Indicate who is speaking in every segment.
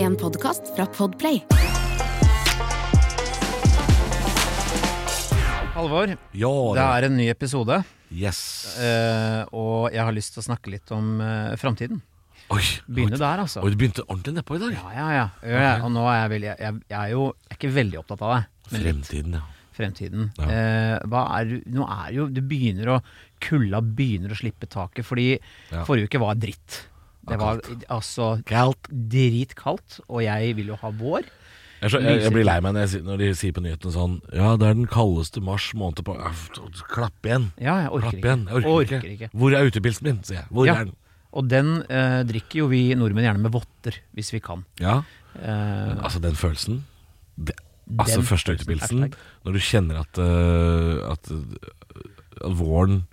Speaker 1: En podkast fra Podplay.
Speaker 2: Halvor,
Speaker 3: Ja,
Speaker 2: det er en ny episode,
Speaker 3: Yes.
Speaker 2: eh, og jeg har lyst til å snakke litt om uh, framtiden.
Speaker 3: Oi,
Speaker 2: Begynne der, altså.
Speaker 3: Oi, du begynte ordentlig nedpå i dag.
Speaker 2: Ja, ja, ja. ja, ja. Og nå er jeg, veldig, jeg, jeg er jo jeg er ikke veldig opptatt av det, men litt
Speaker 3: Fremtiden, ja.
Speaker 2: fremtiden.
Speaker 3: Ja.
Speaker 2: Eh, hva er, du- nå er jo Det begynner å Kulda begynner å slippe taket, fordi
Speaker 3: Ja.
Speaker 2: forrige uke var dritt. Det
Speaker 3: Ja,
Speaker 2: var
Speaker 3: kaldt.
Speaker 2: altså dritkaldt, og jeg vil jo ha vår.
Speaker 3: Jeg, skjø- jeg, jeg blir lei meg når, jeg, sier- når de sier på nyhetene sånn Ja, det er den kaldeste mars måned på Æff, Klapp igjen.
Speaker 2: Ja, jeg orker
Speaker 3: Klapp
Speaker 2: ikke.
Speaker 3: igjen. Jeg orker, ikke. Hvor er utepilsen min? sier jeg. Hvor
Speaker 2: Ja.
Speaker 3: er den?
Speaker 2: Og den eh, drikker jo vi nordmenn gjerne med votter, hvis vi kan.
Speaker 3: Ja.
Speaker 2: Eh,
Speaker 3: Men altså, den følelsen det, Altså,
Speaker 2: Den
Speaker 3: første
Speaker 2: følelsen,
Speaker 3: utepilsen,
Speaker 2: hashtag.
Speaker 3: når du kjenner at, eh, at, eh, at våren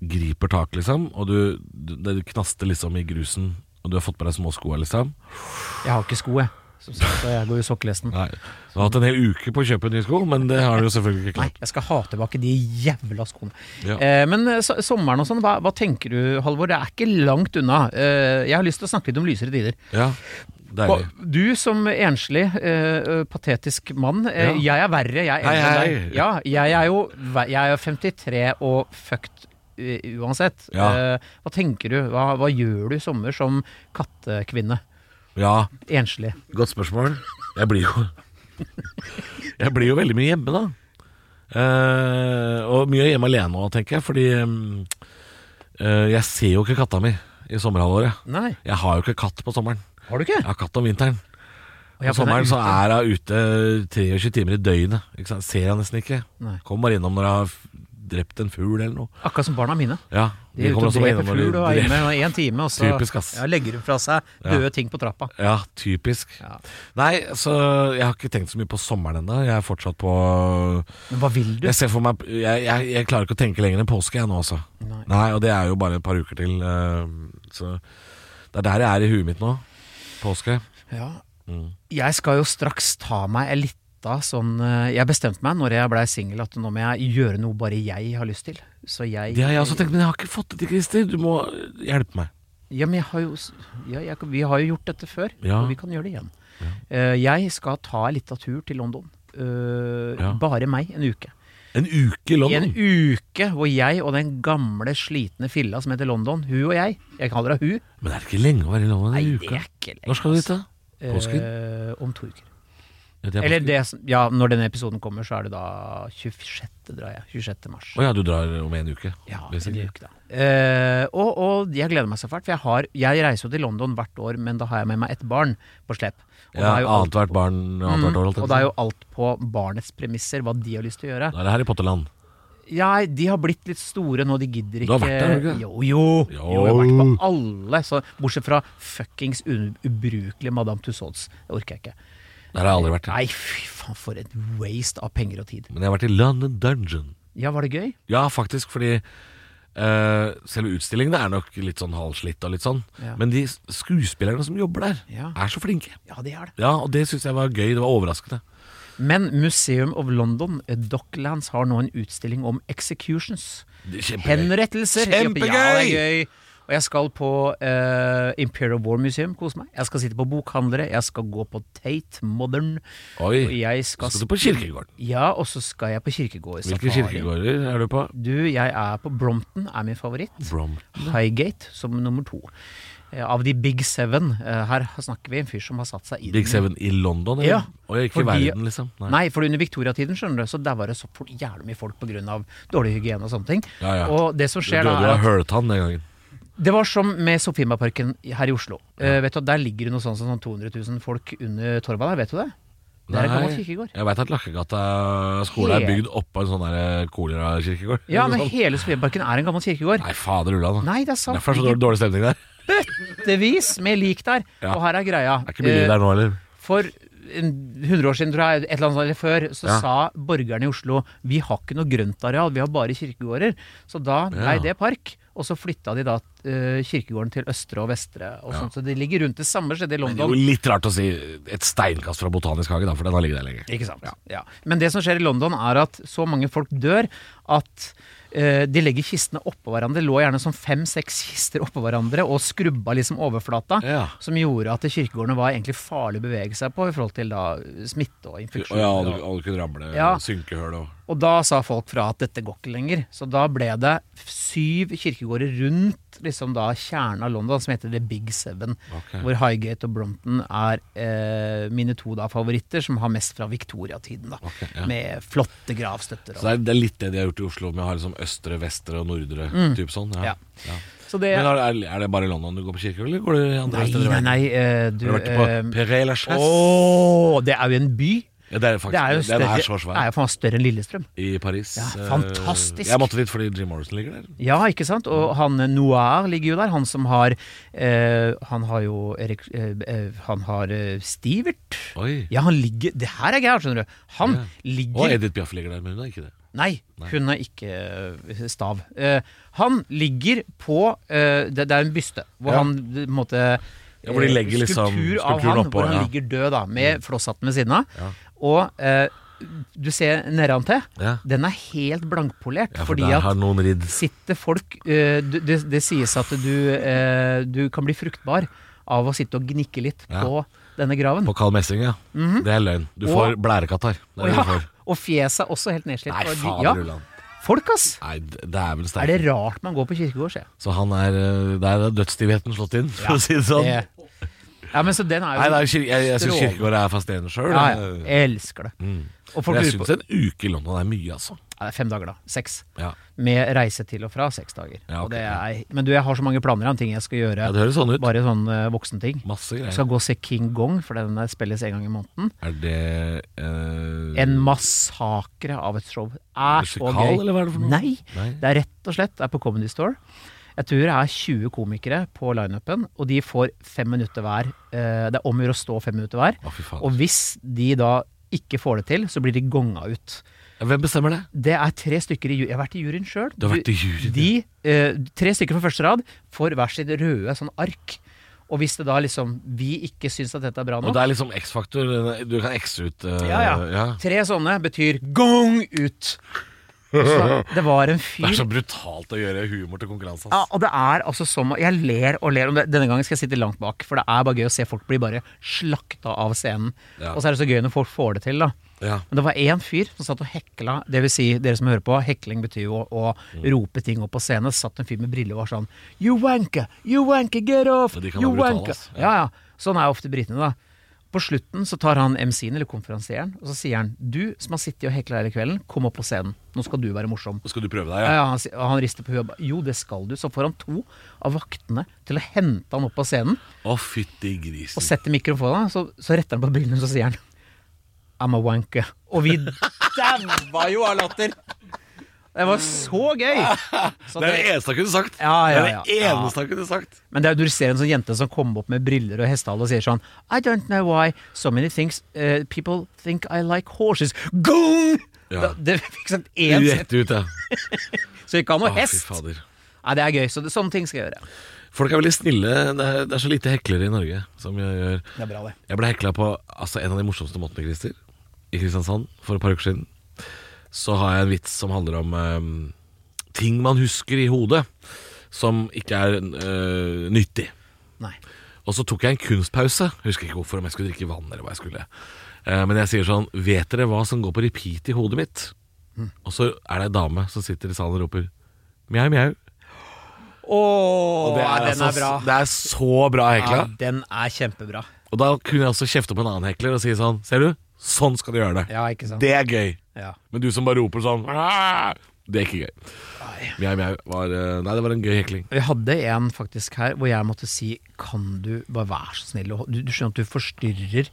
Speaker 3: griper tak, liksom, og du, du, det knaster liksom i grusen, og du har fått på deg småskoa, liksom.
Speaker 2: Jeg har ikke sko, jeg. Som sagt, så jeg går jo sokkelesten.
Speaker 3: Nei. Du har hatt en hel uke på å kjøpe nye sko, men det har du jo selvfølgelig ikke
Speaker 2: Nei,
Speaker 3: klart.
Speaker 2: jeg skal ha tilbake de jævla skoene.
Speaker 3: Ja.
Speaker 2: Eh, men eh, so sommeren og sånn, hva, hva tenker du, Halvor? Det er ikke langt unna. Eh, jeg har lyst til å snakke litt om lysere tider.
Speaker 3: Ja,
Speaker 2: Hva,
Speaker 3: deilig.
Speaker 2: du som enslig, eh, eh, patetisk mann. Eh,
Speaker 3: Ja.
Speaker 2: Jeg er verre, jeg er
Speaker 3: Hei,
Speaker 2: eldre enn
Speaker 3: hei.
Speaker 2: deg. Ja, jeg er jo ver- jeg er 53 og fucked eh, uansett.
Speaker 3: Ja.
Speaker 2: Eh, hva tenker du? Hva, hva gjør du i sommer som kattekvinne?
Speaker 3: Ja,
Speaker 2: Enslig.
Speaker 3: godt spørsmål. Jeg blir jo Jeg blir jo veldig mye hjemme, da. Eh, og mye hjemme alene òg, tenker jeg, fordi mm, eh, jeg ser jo ikke katta mi i sommerhalvåret.
Speaker 2: Nei,
Speaker 3: Jeg har jo ikke katt på sommeren.
Speaker 2: har du ikke?
Speaker 3: Jeg har katt om vinteren.
Speaker 2: Og
Speaker 3: På
Speaker 2: jeg-
Speaker 3: sommeren så er hun ute 23 timer i døgnet. Ikke sant? Ser jeg nesten ikke.
Speaker 2: Nei.
Speaker 3: Kommer bare innom når jeg har f- drept en fugl eller noe.
Speaker 2: Akkurat som barna mine.
Speaker 3: Ja,
Speaker 2: De er ute
Speaker 3: kommer
Speaker 2: og
Speaker 3: også bare
Speaker 2: dreper
Speaker 3: når de
Speaker 2: fugl og er
Speaker 3: dreper-
Speaker 2: inne i en time, og så
Speaker 3: Typisk, ass.
Speaker 2: ja, legger de fra seg døde ting på trappa.
Speaker 3: Ja, typisk.
Speaker 2: Ja.
Speaker 3: Nei, så jeg har ikke tenkt så mye på sommeren ennå. Jeg er fortsatt på
Speaker 2: Men hva vil du?
Speaker 3: Jeg ser for meg Jeg, jeg, jeg klarer ikke å tenke lenger enn påske, jeg nå, altså.
Speaker 2: Nei.
Speaker 3: og det er jo bare et par uker til. eh, Så det er der jeg er i huet mitt nå. Påske. Mm.
Speaker 2: Ja. Jeg skal jo straks ta meg en lita sånn eh, Jeg bestemte meg når jeg blei singel at nå må jeg gjøre noe bare jeg har lyst til. Så jeg
Speaker 3: Det har jeg også tenkt, men jeg har ikke fått det til, Christer. Du må hjelpe meg.
Speaker 2: Ja, men jeg har jo s- ja, jeg, Vi har jo gjort dette før,
Speaker 3: Ja.
Speaker 2: og vi kan gjøre det igjen. Eh, jeg skal ta en lita tur til London. Eh,
Speaker 3: Ja.
Speaker 2: Bare meg, en uke.
Speaker 3: En uke i
Speaker 2: I en
Speaker 3: London.
Speaker 2: uke hvor jeg og den gamle, slitne filla som heter London, hun og jeg Jeg kaller henne hun.
Speaker 3: Men det er ikke lenge å være i London
Speaker 2: Nei,
Speaker 3: en
Speaker 2: det
Speaker 3: uke.
Speaker 2: er ikke lenge.
Speaker 3: Når skal du dit,
Speaker 2: altså.
Speaker 3: da? Påsken?
Speaker 2: Eh, om to uker.
Speaker 3: Ja, det er
Speaker 2: Eller
Speaker 3: påsken.
Speaker 2: det, som- ja, når denne episoden kommer, så er det da 26. drar jeg. 26. mars.
Speaker 3: Å ja, du drar om en uke?
Speaker 2: Ja,
Speaker 3: basically.
Speaker 2: en uke da. Eh, og, og jeg gleder meg så fælt, for jeg, har, jeg reiser jo til London hvert år, men da har jeg med meg et barn på slep. Og
Speaker 3: Ja,
Speaker 2: da er jo alt- Mm,
Speaker 3: Annethvert barn annethvert år, holdt jeg
Speaker 2: og det
Speaker 3: på å
Speaker 2: er
Speaker 3: si.
Speaker 2: jo alt på barnets premisser, hva de har lyst til å gjøre.
Speaker 3: Da er det Harry Potter-land.
Speaker 2: Ja, de har blitt litt store nå, de gidder ikke
Speaker 3: Du har vært der, har du ikke det?
Speaker 2: Jo, jo. jo.
Speaker 3: Jo.
Speaker 2: Jeg har vært på alle, så, bortsett fra fuckings un- ubrukelige Madame Tussauds. Det orker jeg ikke.
Speaker 3: Der har jeg aldri vært.
Speaker 2: Nei, fy faen, for et waste av penger og tid.
Speaker 3: Men jeg har vært i London Dungeon.
Speaker 2: Ja, var det gøy?
Speaker 3: Ja, faktisk, fordi eh, selve utstillingen er nok litt sånn halvslitt og litt sånn.
Speaker 2: Ja.
Speaker 3: Men de skuespillerne som jobber der,
Speaker 2: Ja.
Speaker 3: er så flinke.
Speaker 2: Ja, det er det.
Speaker 3: Ja, og det syns jeg var gøy. Det var overraskende.
Speaker 2: Men Museum of London, eh, Docklands, har nå en utstilling om executions.
Speaker 3: Det er kjempegøy.
Speaker 2: Henrettelser.
Speaker 3: Kjempegøy!
Speaker 2: Ja, det er gøy. Og jeg skal på eh, Imperial War Museum, kose meg. Jeg skal sitte på bokhandlere, jeg skal gå på Tate Modern.
Speaker 3: Oi.
Speaker 2: Og jeg skal,
Speaker 3: Skal du på kirkegården?
Speaker 2: Ja, og så skal jeg på kirkegård.
Speaker 3: Hvilke kirkegårder er du på?
Speaker 2: Du, jeg er på Brompton, er min favoritt.
Speaker 3: Brom.
Speaker 2: Highgate som nummer to. Eh, Av de big seven. eh, Her snakker vi en fyr som har satt seg inn
Speaker 3: Big Seven i London?
Speaker 2: Ja,
Speaker 3: Eller? og ikke i
Speaker 2: fordi-
Speaker 3: verden, liksom?
Speaker 2: Nei. for under viktoriatiden skjønner du, så der var det så fort jævlig mye folk pga. dårlig hygiene og sånne ting.
Speaker 3: Ja, ja.
Speaker 2: Og det som
Speaker 3: Du
Speaker 2: skjer da
Speaker 3: døde jo
Speaker 2: er
Speaker 3: av
Speaker 2: at
Speaker 3: høletann den gangen.
Speaker 2: Det var som med Sofiemarparken her i Oslo. Eh, vet du, at Der ligger det noe sånt som sånn 200 000 folk under torva der, vet du det? Det er en gammel kirkegård.
Speaker 3: jeg veit at Lakkegata skole er bygd oppå en sånn der kolerakirkegård.
Speaker 2: Ja,
Speaker 3: Eller
Speaker 2: men
Speaker 3: sånn.
Speaker 2: hele Sofiemarken er en gammel kirkegård.
Speaker 3: Nei, fader ulla. da.
Speaker 2: Nei, det er sant.
Speaker 3: Derfor er det så dårlig- dårlig stemning der.
Speaker 2: bøttevis med lik der.
Speaker 3: Ja.
Speaker 2: Og her er greia. Eh,
Speaker 3: Det er ikke billig der nå, eller?
Speaker 2: For en- 100 år siden, tror jeg, et eller annet sånt, eller før, så
Speaker 3: Ja.
Speaker 2: sa borgerne i Oslo vi har ikke noe grøntareal, vi har bare kirkegårder. Så da blei
Speaker 3: Ja.
Speaker 2: det park. Og så flytta de da eh, kirkegården til østre og vestre. Og sånt, så de ligger rundt det samme stedet i
Speaker 3: Det er
Speaker 2: London.
Speaker 3: jo litt rart å si et steinkast fra Botanisk hage, da, for den har ligget der lenge.
Speaker 2: Ikke sant. Ja. Men det som skjer i London, er at så mange folk dør at eh, de legger kistene oppå hverandre. Det lå gjerne som fem-seks kister oppå hverandre og skrubba liksom overflata.
Speaker 3: Ja.
Speaker 2: Som gjorde at kirkegårdene var egentlig farlig å bevege seg på i forhold til da smitte og
Speaker 3: Og
Speaker 2: infeksjon.
Speaker 3: ja, og du, og du kunne ramle,
Speaker 2: Ja.
Speaker 3: synkehull og
Speaker 2: Og da sa folk fra at dette går ikke lenger. Så da ble det syv kirkegårder rundt liksom da kjernen av London, som heter The Big Seven.
Speaker 3: Ok.
Speaker 2: Hvor Highgate og Brompton er eh, mine to da favoritter, som har mest fra Victoria-tiden. da.
Speaker 3: Ok, ja.
Speaker 2: Med flotte gravstøtter. Og.
Speaker 3: Så det er, det er litt det de har gjort i Oslo, med å ha liksom østre, vestre og nordre. Typ sånn, ja.
Speaker 2: Mm. Ja.
Speaker 3: Ja.
Speaker 2: Så det
Speaker 3: Men er, er- er det bare i London du går på kirke, eller går du andre
Speaker 2: Nei,
Speaker 3: steder?
Speaker 2: nei,
Speaker 3: i verden?
Speaker 2: nei. Eh, du
Speaker 3: Har du vært på
Speaker 2: eh,
Speaker 3: Perret la Chaise?
Speaker 2: Å, det er jo en by.
Speaker 3: Ja, det er faktisk,
Speaker 2: Det er jo
Speaker 3: den
Speaker 2: større,
Speaker 3: er så svær.
Speaker 2: er jo faen større enn Lillestrøm.
Speaker 3: I Paris.
Speaker 2: Ja,
Speaker 3: eh,
Speaker 2: fantastisk.
Speaker 3: Jeg måtte dit fordi Jim Morrison ligger der.
Speaker 2: Ja, ikke sant?
Speaker 3: Mm.
Speaker 2: Og han eh, Noir ligger jo der. Han som har eh, Han har jo Erik, eh, eh, Han har eh, Stivert.
Speaker 3: Oi.
Speaker 2: Ja, han ligger Det her er Gerhard, skjønner du. Han
Speaker 3: Ja.
Speaker 2: ligger
Speaker 3: Og Edith Piaf ligger der, men hun er ikke det.
Speaker 2: Nei, hun er ikke eh, stav. Eh, han ligger på eh, det, det er en byste hvor
Speaker 3: Ja.
Speaker 2: han eh, på en måte
Speaker 3: Ja, hvor de
Speaker 2: eh,
Speaker 3: legger liksom
Speaker 2: Skulptur av
Speaker 3: skulpturen
Speaker 2: han,
Speaker 3: oppå,
Speaker 2: hvor han
Speaker 3: ja. Mm.
Speaker 2: ligger død, da, med flosshatten ved siden av.
Speaker 3: Ja.
Speaker 2: Og eh, du ser nedantil.
Speaker 3: Ja.
Speaker 2: Den er helt blankpolert.
Speaker 3: Ja, for
Speaker 2: fordi
Speaker 3: der
Speaker 2: at
Speaker 3: har noen ridd.
Speaker 2: sitter folk eh, du- det, det sies at du, eh, du kan bli fruktbar av å sitte og gnikke litt
Speaker 3: Ja.
Speaker 2: på denne graven.
Speaker 3: På Carl Messing, ja. Det er løgn. Du
Speaker 2: Mhm. Og-
Speaker 3: får blærekatarr. Det
Speaker 2: og,
Speaker 3: er det du
Speaker 2: ja,
Speaker 3: får.
Speaker 2: og fjeset er også helt nedslitt.
Speaker 3: Nei,
Speaker 2: Og de-
Speaker 3: fader
Speaker 2: ja,
Speaker 3: Ulland.
Speaker 2: Folk, ass!
Speaker 3: Nei, det er vel
Speaker 2: Er det
Speaker 3: sterkt.
Speaker 2: rart man går på kirkegård, ser jeg.
Speaker 3: Så han er eh, Der er dødsstivheten slått inn, for å si det sånn.
Speaker 2: Det- Ja, men så den er jo
Speaker 3: Nei, det er, jo kir- jeg, jeg syns
Speaker 2: Strålende.
Speaker 3: kirkegård er fascinerende sjøl.
Speaker 2: ja, ja, Jeg elsker det. Og folk
Speaker 3: Men jeg
Speaker 2: lurer på
Speaker 3: syns en uke i London er mye, altså.
Speaker 2: ja, det er Fem dager, da. Seks.
Speaker 3: Ja.
Speaker 2: Med reise til og fra seks dager.
Speaker 3: Ja,
Speaker 2: Og
Speaker 3: ok,
Speaker 2: det er, men du, jeg har så mange planer om ting jeg skal gjøre.
Speaker 3: Ja, det høres sånn ut.
Speaker 2: Bare sånne voksenting.
Speaker 3: Masse
Speaker 2: Jeg
Speaker 3: greier.
Speaker 2: skal gå og se King Gong, for den spilles en gang i måneden.
Speaker 3: Er det eh,
Speaker 2: En massakre av et show. Er så
Speaker 3: Musikal,
Speaker 2: gøy.
Speaker 3: eller hva er det for noe?
Speaker 2: Nei.
Speaker 3: Nei.
Speaker 2: Det er rett og slett det er på Comedy Store. Jeg tror det er 20 komikere på lineupen, og de får fem minutter hver. Eh, Det er om å gjøre å stå fem minutter hver.
Speaker 3: Å, fy faen.
Speaker 2: Og hvis de da ikke får det til, så blir de gonga ut.
Speaker 3: Hvem bestemmer det?
Speaker 2: Det er tre stykker i juryen. Jeg har vært i juryen sjøl.
Speaker 3: Du har vært i juryen,
Speaker 2: De, eh, tre stykker fra første rad får hver sitt røde sånn ark. Og hvis det da liksom vi ikke syns at dette er bra
Speaker 3: Og
Speaker 2: nok
Speaker 3: det er liksom X-faktor. Du kan X-e ut eh,
Speaker 2: ja, ja. Tre sånne betyr gong ut. Så det var en
Speaker 3: Det er
Speaker 2: fyr
Speaker 3: så brutalt å gjøre humor til konkurranse.
Speaker 2: ja,
Speaker 3: ass.
Speaker 2: og det er altså som Jeg ler og ler. og det- Denne gangen skal jeg sitte langt bak, for det er bare gøy å se folk bli bare slakta av scenen.
Speaker 3: Ja.
Speaker 2: Og så er det så gøy når folk får det til, da.
Speaker 3: Ja.
Speaker 2: Men det var én fyr som satt og hekla. Det vil si, dere som hører på, hekling betyr jo å, å
Speaker 3: Mm.
Speaker 2: rope ting opp på scenen. Så satt en fyr med briller og var sånn You wanker! You wanker! Get off!
Speaker 3: Men de kan
Speaker 2: You
Speaker 3: være brutale,
Speaker 2: wanker!
Speaker 3: ass.
Speaker 2: Ja, ja. Sånn er jo ofte britene, da. På slutten så tar han MC-en, eller konferansieren, og så sier han Du som har sittet og hekla hele kvelden, kom opp på scenen. Nå skal du være morsom.
Speaker 3: Skal du prøve deg,
Speaker 2: Ja,
Speaker 3: ja?
Speaker 2: ja, han, sier- og han rister på huet og ba, Jo, det skal du. Så får han to av vaktene til å hente han opp på scenen
Speaker 3: Å, fytti
Speaker 2: og
Speaker 3: grisen.
Speaker 2: setter mikrofonen, så, så retter han på brillene, så sier han I'm a wanker. Og vi daua jo av latter! Det var så gøy! Så
Speaker 3: Det er det
Speaker 2: det,
Speaker 3: eneste han kunne sagt.
Speaker 2: Ja, ja, ja.
Speaker 3: Det er det eneste han kunne sagt.
Speaker 2: men det er, jo- du ser en sånn jente som kommer opp med briller og hestehale og sier sånn I don't know why so many things eh, people think I like horses. Gong!
Speaker 3: Ja.
Speaker 2: Da- Det fikk sånn én setning,
Speaker 3: Rett ut, ja.
Speaker 2: så ikke han noe
Speaker 3: Å, fy
Speaker 2: hest.
Speaker 3: fader.
Speaker 2: Nei, det er gøy. Så det, sånne ting skal jeg gjøre.
Speaker 3: Folk er veldig snille. Det er, det er så lite heklere i Norge som jeg gjør.
Speaker 2: Det er bra, det.
Speaker 3: Jeg ble hekla på altså, en av de morsomste måtene, Christer. I Kristiansand for et par uker siden. Så har jeg en vits som handler om eh, ting man husker i hodet som ikke er eh, nyttig.
Speaker 2: Nei.
Speaker 3: Og så tok jeg en kunstpause. Husker ikke hvorfor, om jeg skulle drikke vann eller hva jeg skulle. Eh, Men jeg sier sånn Vet dere hva som går på repeat i hodet mitt? Og så er det ei dame som sitter i salen og roper mjau, mjau.
Speaker 2: Ååå,
Speaker 3: Og det er,
Speaker 2: den
Speaker 3: altså,
Speaker 2: er bra.
Speaker 3: det er så bra hekla.
Speaker 2: Ja, den er kjempebra.
Speaker 3: Og da kunne jeg også kjefte på en annen hekler og si sånn Ser du? Sånn skal du gjøre det.
Speaker 2: Ja, ikke sant?
Speaker 3: Det er gøy.
Speaker 2: Ja.
Speaker 3: Men du som bare roper sånn «Ah!» Det er ikke gøy. Mjau, mjau. Var, eh, nei, det var en gøy hekling.
Speaker 2: Vi hadde en faktisk her hvor jeg måtte si Kan du bare være så snill å- du, du skjønner at du forstyrrer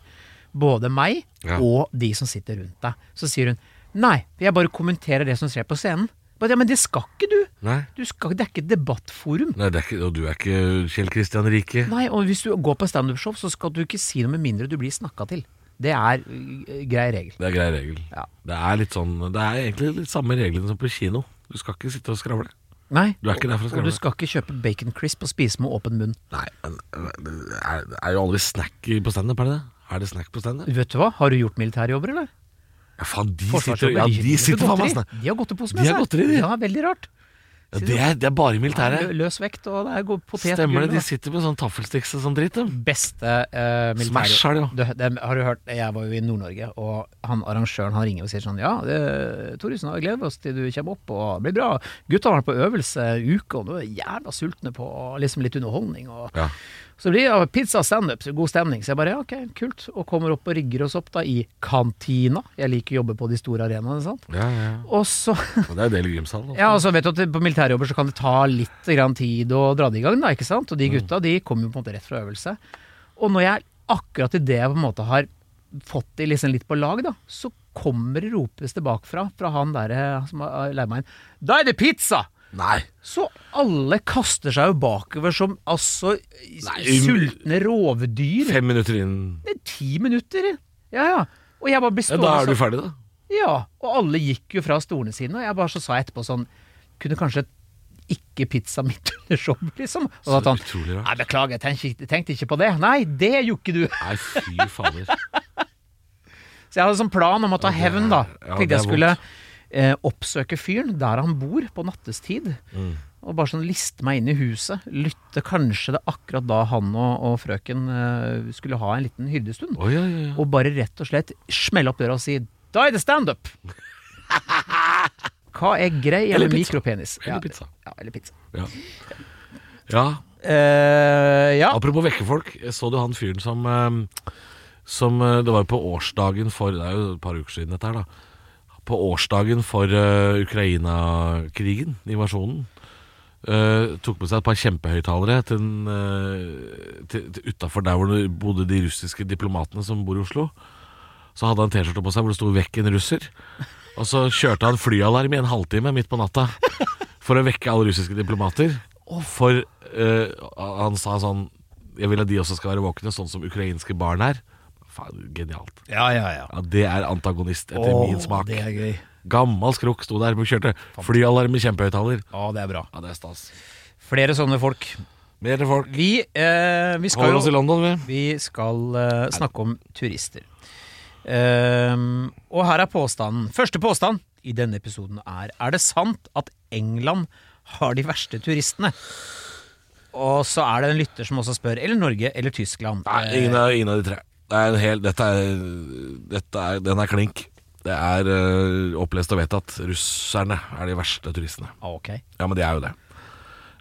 Speaker 2: både meg
Speaker 3: Ja.
Speaker 2: og de som sitter rundt deg. Så sier hun Nei, jeg bare kommenterer det som skjer på scenen. Bare, ja, men det skal ikke du.
Speaker 3: Nei.
Speaker 2: du skal, det er ikke et debattforum.
Speaker 3: Nei det er ikke, og du er ikke Kjell Kristian Rike.
Speaker 2: Nei, og hvis du går på standup-show, så skal du ikke si noe med mindre du blir snakka til. Det er eh, grei regel.
Speaker 3: Det er grei regel.
Speaker 2: Ja.
Speaker 3: Det er litt sånn Det er egentlig litt samme reglene som på kino. Du skal ikke sitte og skravle.
Speaker 2: Nei,
Speaker 3: Du er ikke der for å
Speaker 2: og
Speaker 3: skravle.
Speaker 2: du skal ikke kjøpe bacon crisp og spise med åpen munn.
Speaker 3: Nei, men det er, det er jo aldri snack i- på standup, er det det? Er det snack på standup?
Speaker 2: Vet du hva, har du gjort militærjobber, eller?
Speaker 3: Ja, faen, de sitter,
Speaker 2: Forsvarsjobber,
Speaker 3: ja, de sitter faen meg
Speaker 2: godteri.
Speaker 3: snart.
Speaker 2: De har godtepose
Speaker 3: De
Speaker 2: med
Speaker 3: har godteri, de.
Speaker 2: Ja, veldig rart.
Speaker 3: Ja, det, er, det er bare militære.
Speaker 2: Lø- Løs vekt, og det er god potet.
Speaker 3: Stemmer
Speaker 2: gull,
Speaker 3: det, de
Speaker 2: og-
Speaker 3: sitter med sånn taffelsticks og sånn dritt, dem.
Speaker 2: beste uh, militære
Speaker 3: Smash er det jo.
Speaker 2: Du, det- Har du hørt, jeg var jo i Nord-Norge Og han, arrangøren han ringer og sier sånn Ja, det- Thoresen, da gleder vi oss til du kommer opp Og det blir bra Gutta har vært på øvelse uke Og nå er vi jævla sultne på liksom litt underholdning og,
Speaker 3: Ja.
Speaker 2: Så blir det ja, pizza stand-up så God stemning Så jeg bare, ja, ok, kult Og kommer opp og rigger oss opp da i kantina Jeg liker å jobbe på de store arenaene, sant?
Speaker 3: Ja, ja.
Speaker 2: Og så
Speaker 3: Og det er jo del i gymsalen. da.
Speaker 2: ja, og så vet du at det- På militærjobber så kan det ta litt grann tid å dra det i gang. da, ikke sant?
Speaker 3: Mm.
Speaker 2: Og de gutta de kommer jo på en måte rett fra øvelse. Og når jeg akkurat idet jeg på en måte har fått de liksom litt på lag, da, så kommer det ropes det bakfra fra han der eh, som har leid meg inn. Da er det pizza!
Speaker 3: Nei.
Speaker 2: Så alle kaster seg jo bakover som altså
Speaker 3: Nei, um,
Speaker 2: sultne rovdyr.
Speaker 3: Fem minutter inn
Speaker 2: Det er ti minutter! Ja, ja. Og jeg bare blir
Speaker 3: ja,
Speaker 2: stående
Speaker 3: Da er
Speaker 2: sånn.
Speaker 3: du ferdig, da.
Speaker 2: Ja, og alle gikk jo fra stolene sine, og jeg bare så sa jeg etterpå sånn Kunne kanskje ikke pizza midt under showet, liksom? Og
Speaker 3: Så
Speaker 2: da han,
Speaker 3: utrolig rart.
Speaker 2: Nei, beklager, jeg tenkte, ikke- tenkte ikke på det. Nei, det gjorde ikke du.
Speaker 3: Nei, fy fader.
Speaker 2: Så jeg hadde sånn plan om å ta
Speaker 3: Ja, det er-
Speaker 2: hevn, da.
Speaker 3: ja, det
Speaker 2: Tenkte
Speaker 3: er
Speaker 2: jeg skulle eh, oppsøke fyren der han bor, på nattestid.
Speaker 3: Mm.
Speaker 2: Og bare sånn liste meg inn i huset. Lytte kanskje det akkurat da han og, og frøken eh, skulle ha en liten hyrdestund.
Speaker 3: Oi, ja, ja, ja.
Speaker 2: og bare rett og slett smelle opp døra og si Da er det standup! Hva er greia
Speaker 3: Eller
Speaker 2: med
Speaker 3: pizza.
Speaker 2: mikropenis?
Speaker 3: Eller
Speaker 2: Ja,
Speaker 3: pizza.
Speaker 2: Ja, eller pizza.
Speaker 3: Ja. ja.
Speaker 2: Eh, ja.
Speaker 3: Apropos vekkefolk, så du han fyren som, eh, som eh, Det var jo på årsdagen for Det er jo et par uker siden dette her, da. På årsdagen for eh, Ukraina-krigen, invasjonen, eh, tok med seg et par kjempehøyttalere til, en, eh, til, til utafor der hvor det bodde de russiske diplomatene som bor i Oslo. Så hadde han T-skjorte på seg hvor det sto 'Vekk en russer'. Og så kjørte han flyalarm i en halvtime midt på natta for å vekke alle russiske diplomater. For eh, han sa sånn Jeg vil at de også skal være våkne, sånn som ukrainske barn er. Faen, genialt.
Speaker 2: ja, ja, ja.
Speaker 3: Ja, Det er antagonist etter
Speaker 2: Åh,
Speaker 3: min smak.
Speaker 2: det er gøy.
Speaker 3: Gammal skrukk sto der og kjørte flyalarm med kjempehøyttaler.
Speaker 2: Ja, det er bra.
Speaker 3: Ja, det er stas.
Speaker 2: Flere sånne folk.
Speaker 3: Mer folk.
Speaker 2: Vi, eh, vi skal
Speaker 3: Holder oss i
Speaker 2: jo
Speaker 3: London, vi.
Speaker 2: Vi skal eh, snakke om turister. Ehm, og her er påstanden. Første påstand i denne episoden er Er det sant at England har de verste turistene? Og så er det en lytter som også spør. Eller Norge eller Tyskland. Eh,
Speaker 3: Nei, ingen av, ingen av de tre. Det er en hel, dette er, dette er, den er klink. Det er eh, opplest og vedtatt. Russerne er de verste turistene.
Speaker 2: Ah, ok.
Speaker 3: Ja, men de er jo det.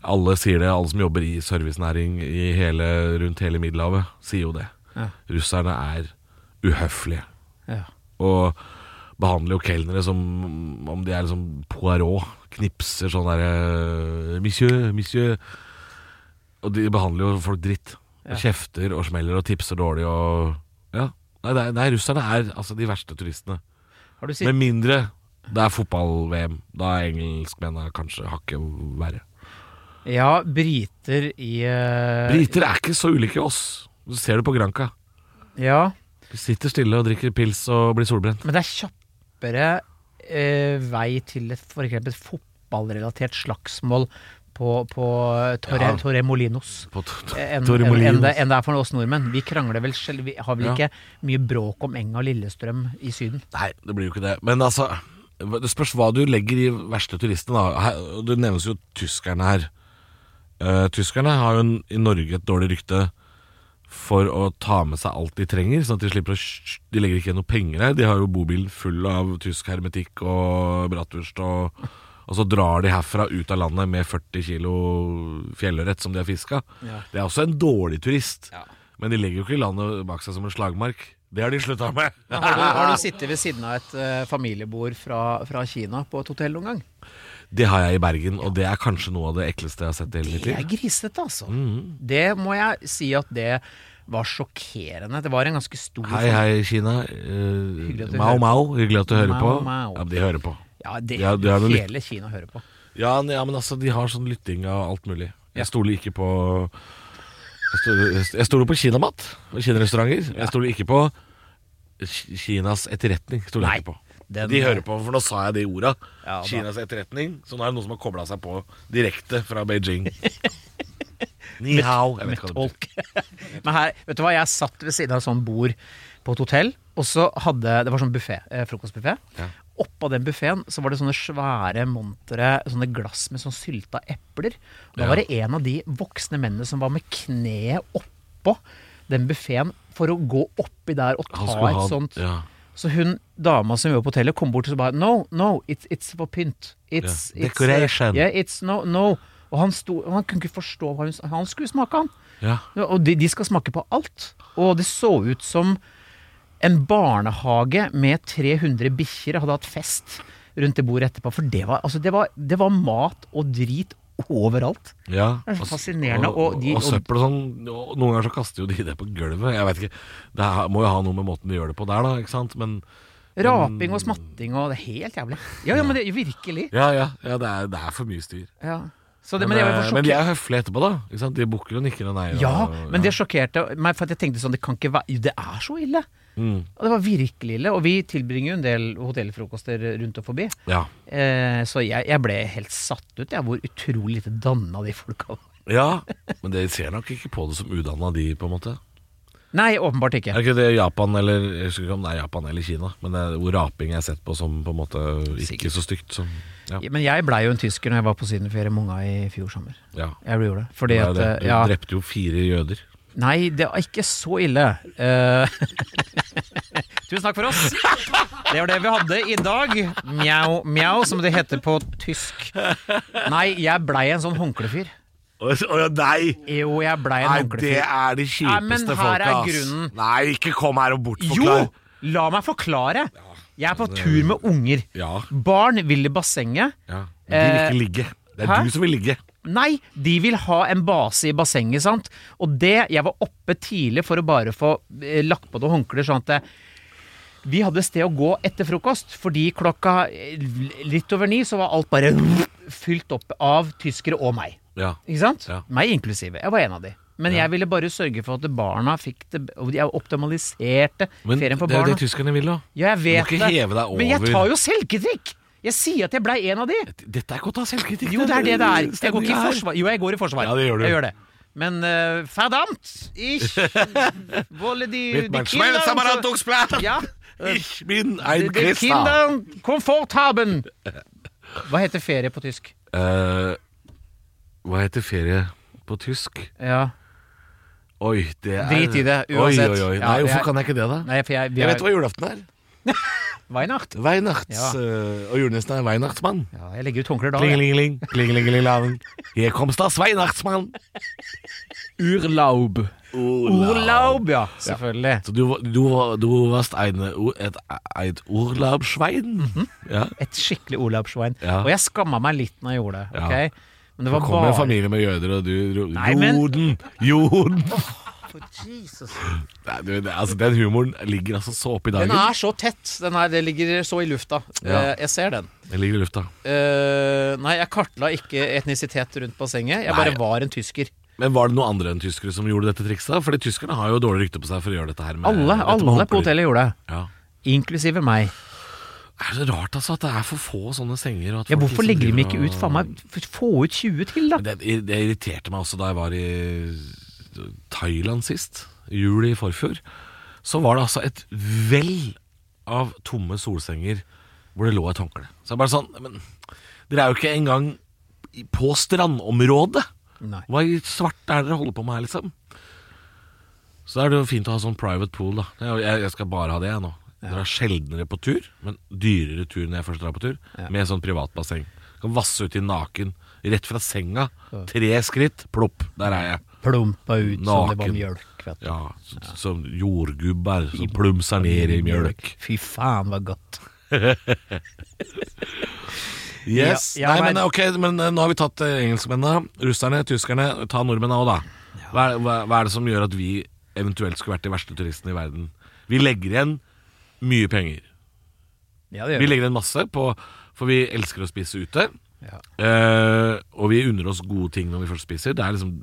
Speaker 3: Alle sier det, alle som jobber i servicenæring i hele, rundt hele Middelhavet, sier jo det.
Speaker 2: Ja.
Speaker 3: Russerne er uhøflige
Speaker 2: Ja.
Speaker 3: og behandler jo kelnere som om de er liksom Poirot. Knipser sånn derre Monsieur, monsieur. Og de behandler jo folk dritt. Og kjefter og smeller og tipser dårlig og Ja. Nei, det er- nei russerne er altså de verste turistene.
Speaker 2: Har du sett-
Speaker 3: Med mindre det er fotball-VM. Da er engelskmennene kanskje hakket verre.
Speaker 2: ja, briter i eh,
Speaker 3: Briter er ikke så ulike oss. Du ser det på Granca.
Speaker 2: Ja,
Speaker 3: De sitter stille og drikker pils og blir solbrent.
Speaker 2: men det er kjappere eh, vei til et for eksempel et fotballrelatert slagsmål på, på Torre,
Speaker 3: Ja.
Speaker 2: Torremolinos.
Speaker 3: På t- t-
Speaker 2: enn Eh, en,
Speaker 3: Torremolinos.
Speaker 2: enn det, enn det er for oss nordmenn. Vi krangler vel selv, vi har vel
Speaker 3: Ja.
Speaker 2: ikke mye bråk om Enga og Lillestrøm i Syden.
Speaker 3: Nei, det blir jo ikke det. Men altså, det spørs hva du legger i verste turistene, da. Her, og det nevnes jo tyskerne her. Eh, tyskerne har jo en, i Norge et dårlig rykte for å ta med seg alt de trenger, sånn at de slipper å sj- De legger ikke igjen noe penger her. De har jo bobilen full av tysk hermetikk og bratwurst og Og så drar de herfra ut av landet med 40 kilo fjellørret som de har fiska. Det er også en dårlig turist. Men de legger jo ikke landet bak seg som en slagmark. Det har de slutta med.
Speaker 2: Har du, sittet ved siden av et eh, familiebord fra, Kina på et hotell noen gang?
Speaker 3: Det har jeg i Bergen, og det er kanskje noe av det ekleste jeg har sett i hele mitt
Speaker 2: Det er
Speaker 3: liv.
Speaker 2: grisete, altså.
Speaker 3: Mm.
Speaker 2: Det må jeg si at det var sjokkerende. Det var en ganske stor
Speaker 3: Hei, hei, Kina.
Speaker 2: at
Speaker 3: Eh,
Speaker 2: du
Speaker 3: Mao,
Speaker 2: hører
Speaker 3: Mao, hyggelig at du hører
Speaker 2: Mao,
Speaker 3: på.
Speaker 2: Mao.
Speaker 3: Ja, men de hører på.
Speaker 2: Ja, det
Speaker 3: Ja, det er noe
Speaker 2: hele Kina hører på.
Speaker 3: Ja, ne- ja, men altså, de har sånn lytting av alt mulig.
Speaker 2: Ja.
Speaker 3: Jeg stoler ikke på Jeg stoler, jeg stoler på kinamat og kinarestauranter. Jeg stoler ikke på Ki- Kinas etterretning. Stoler
Speaker 2: Nei,
Speaker 3: jeg ikke på.
Speaker 2: den-
Speaker 3: de hører på, for nå sa jeg de orda.
Speaker 2: Ja, da.
Speaker 3: Kinas etterretning. Så nå er det noen som har kobla seg på direkte fra Beijing. Ni hao. Jeg vet ikke hva det betyr.
Speaker 2: Tolk. Men her, vet du hva, jeg satt ved siden av et sånt bord på et hotell, og så hadde Det var sånn buffet, eh, frokostbuffé.
Speaker 3: Ja.
Speaker 2: Oppå den buffeen så var det sånne svære, montre sånne glass med sånn sylta epler. Og da
Speaker 3: Ja.
Speaker 2: var det en av de voksne mennene som var med kneet oppå den buffeen for å gå oppi der og ta
Speaker 3: Han skulle
Speaker 2: et
Speaker 3: ha-
Speaker 2: sånt
Speaker 3: ja.
Speaker 2: Så hun dama som jobber på hotellet, kom bort og så bare No, no, it's, it's for pynt. It's,
Speaker 3: Ja.
Speaker 2: it's, uh,
Speaker 3: Decoration.
Speaker 2: yeah, it's no, no. Og han, sto, han kunne ikke forstå hva hun s- Han skulle smake, han.
Speaker 3: Ja.
Speaker 2: Ja, Og de, de skal smake på alt. Og det så ut som en barnehage med 300 bikkjer hadde hatt fest rundt det bordet etterpå. For det var, altså, det var, det var mat og drit overalt.
Speaker 3: Ja.
Speaker 2: Det er så
Speaker 3: og s-
Speaker 2: fascinerende,
Speaker 3: Og,
Speaker 2: og de-
Speaker 3: og søppel og sånn. Og noen ganger så kaster jo de det på gulvet. Jeg vet ikke. Det her må jo ha noe med måten de gjør det på der, da. Ikke sant? Men
Speaker 2: Raping og smatting og det er Helt jævlig. Ja, ja, men det, virkelig.
Speaker 3: Ja, ja, ja det, er, det er for mye styr.
Speaker 2: Ja. Så det, men, jeg var
Speaker 3: eh,
Speaker 2: for
Speaker 3: men de
Speaker 2: sjokkert.
Speaker 3: er høflige etterpå, da. Ikke sant? De bukker og nikker og nei. Og,
Speaker 2: Ja, men det
Speaker 3: ja.
Speaker 2: sjokkerte meg, for at jeg tenkte sånn Det kan ikke være Det er så ille!
Speaker 3: Mm,
Speaker 2: Og det var virkelig ille. Og vi tilbringer jo en del hotellfrokoster rundt og forbi.
Speaker 3: ja.
Speaker 2: Eh, så jeg, jeg ble helt satt ut, jeg, hvor utrolig lite danna de folka var.
Speaker 3: ja, men de ser nok ikke på det som udanna, de, på en måte.
Speaker 2: Nei, åpenbart ikke.
Speaker 3: Er ikke det Japan eller Jeg husker ikke om det er Japan eller Kina, men det er hvor raping er sett på som på en måte ikke
Speaker 2: Sikkert.
Speaker 3: så stygt som Ja.
Speaker 2: Men jeg blei jo en tysker når jeg var på sydenferie med unga i fjor sommer.
Speaker 3: ja.
Speaker 2: Jeg gjorde det. Fordi
Speaker 3: Det er
Speaker 2: at
Speaker 3: det.
Speaker 2: eh,
Speaker 3: Du
Speaker 2: ja,
Speaker 3: drepte jo fire jøder.
Speaker 2: Nei, det var ikke så ille. Eh, Tusen takk for oss. Det var det vi hadde i dag. Mjau, mjau, som det heter på tysk. Nei, jeg blei en sånn håndklefyr.
Speaker 3: Å ja, nei!
Speaker 2: Jo, jeg blei en
Speaker 3: Nei, det
Speaker 2: håndklefyr.
Speaker 3: er de
Speaker 2: Nei, men
Speaker 3: kjipeste
Speaker 2: her
Speaker 3: folka,
Speaker 2: er
Speaker 3: ass.
Speaker 2: grunnen.
Speaker 3: Nei, ikke kom her og
Speaker 2: Jo!
Speaker 3: bortforklar.
Speaker 2: La meg forklare. Jeg er på tur med unger.
Speaker 3: Ja.
Speaker 2: Barn vil i bassenget.
Speaker 3: ja. De vil ikke ligge. Det er
Speaker 2: Eh, hæ?
Speaker 3: du som vil ligge.
Speaker 2: Nei, de vil ha en base i bassenget, sant? Og det, jeg var oppe tidlig for å bare få eh, lagt på noen håndklær, sånn at eh, vi hadde sted å gå etter frokost, fordi klokka eh, litt over ni så var alt bare fylt opp av tyskere og meg.
Speaker 3: Ja.
Speaker 2: Ikke sant?
Speaker 3: Ja.
Speaker 2: Meg inklusive. Jeg var en av de. Men jeg ville bare sørge for at barna fikk det og Jeg optimaliserte
Speaker 3: Men det
Speaker 2: ferien for
Speaker 3: er jo
Speaker 2: barna.
Speaker 3: det tyskerne vil, da.
Speaker 2: ja, jeg vet
Speaker 3: ikke heve deg
Speaker 2: Men jeg
Speaker 3: over.
Speaker 2: tar jo selvkritikk! Jeg sier at jeg blei en av de.
Speaker 3: Dette er godt å ha selvkritikk
Speaker 2: Jo, det er det det er. Jeg går
Speaker 3: Stemningen
Speaker 2: ikke i
Speaker 3: her.
Speaker 2: forsvar. Jo, jeg går i forsvar.
Speaker 3: Ja, det gjør du.
Speaker 2: Jeg gjør det. Men uh, verdammt! Ich wolle die,
Speaker 3: Mit
Speaker 2: die
Speaker 3: mein Schmelz am
Speaker 2: Kindern-
Speaker 3: Verhandlungsplan.
Speaker 2: altså. Ja.
Speaker 3: Ich bin ein
Speaker 2: Die- die
Speaker 3: Christ, da.
Speaker 2: Kindern Komfort haben! Hva heter ferie på tysk?
Speaker 3: Eh, Hva heter ferie på tysk?
Speaker 2: Ja.
Speaker 3: Oi, det er
Speaker 2: Drit i det, uansett.
Speaker 3: Oi, oi, oi.
Speaker 2: Ja,
Speaker 3: Nei,
Speaker 2: det
Speaker 3: hvorfor
Speaker 2: er-
Speaker 3: kan jeg ikke det, da?
Speaker 2: Nei, for jeg, vi
Speaker 3: Jeg vet
Speaker 2: er
Speaker 3: hva julaften er.
Speaker 2: Weihnacht.
Speaker 3: Weihnachts.
Speaker 2: Ja.
Speaker 3: eh, og julenissen er Weihnachtsmann.
Speaker 2: Ja, jeg legger ut håndklær da. jeg.
Speaker 3: Plingelingeling, plingelingelingelang. Her komst das Weihnachtsmann.
Speaker 4: Urlaub.
Speaker 2: Oh. Urlaub, ja. Selvfølgelig.
Speaker 3: Så du, du, du warst eine, et, et Urlaubschwein?
Speaker 2: Mhm.
Speaker 3: Ja.
Speaker 2: Et skikkelig urlaubsschwein.
Speaker 3: Ja.
Speaker 2: Og jeg skamma meg litt når jeg gjorde det.
Speaker 3: Ja.
Speaker 2: ok? Men det var
Speaker 3: Det kommer en
Speaker 2: bare
Speaker 3: familie med jøder, og du ro-
Speaker 2: Nei, men-
Speaker 3: Jorden! Jorden! Nei, du, det, altså, den humoren ligger altså så oppi dagen.
Speaker 2: Den er så tett. Den er, det ligger så i lufta.
Speaker 3: Ja.
Speaker 2: Eh, Jeg ser den.
Speaker 3: Den ligger i lufta.
Speaker 2: Eh, nei, jeg kartla ikke etnisitet rundt bassenget. Jeg bare
Speaker 3: Nei.
Speaker 2: var en tysker.
Speaker 3: Men var det noen andre enn tyskere som gjorde dette trikset? da? Fordi tyskerne har jo dårlig rykte på seg for å gjøre dette her. Med,
Speaker 2: Alle,
Speaker 3: dette med
Speaker 2: alle
Speaker 3: håndklær.
Speaker 2: på hotellet gjorde det.
Speaker 3: Ja.
Speaker 2: Inklusive meg.
Speaker 3: Er det rart altså at det er for få sånne senger? og at
Speaker 2: Ja,
Speaker 3: folk
Speaker 2: hvorfor
Speaker 3: liksom
Speaker 2: legger de
Speaker 3: driver
Speaker 2: ikke
Speaker 3: og-
Speaker 2: ut faen meg f- Få ut 20 til, da!
Speaker 3: Men Det, det irriterte meg også da jeg var i Thailand sist, jul i forfjor. Så var det altså et vell av tomme solsenger hvor det lå et håndkle. Så jeg bare sånn Men dere er jo ikke engang i- på strandområdet!
Speaker 2: Nei.
Speaker 3: Hva i svarte er det dere holder på med her, liksom? Så da er det jo fint å ha sånn private pool, da. Jeg- Jeg, jeg skal bare ha det, jeg nå. Dere er sjeldnere på tur, men dyrere tur når jeg først drar på tur. Med sånn privat basseng. Kan vasse uti naken. Rett fra senga. Tre skritt, plopp, der er jeg.
Speaker 2: Plumpa ut som det var
Speaker 3: Naken.
Speaker 2: mjølk. Vet du.
Speaker 3: Ja, så, Som jordgubber som plumser ned i mjølk.
Speaker 2: Fy faen, var godt.
Speaker 3: Yes.
Speaker 2: Ja, ja,
Speaker 3: Nei, men
Speaker 2: men-
Speaker 3: ok, men eh, nå har vi tatt eh, engelskmennene, russerne, tyskerne. Ta nordmennene òg, da. Hva er, hva, hva er det som gjør at vi eventuelt skulle vært de verste turistene i verden? Vi legger igjen mye penger.
Speaker 2: Ja, det gjør
Speaker 3: Vi
Speaker 2: vi.
Speaker 3: legger en masse på, for vi elsker å spise ute.
Speaker 2: Ja.
Speaker 3: Eh, og vi unner oss gode ting når vi først spiser. Det er liksom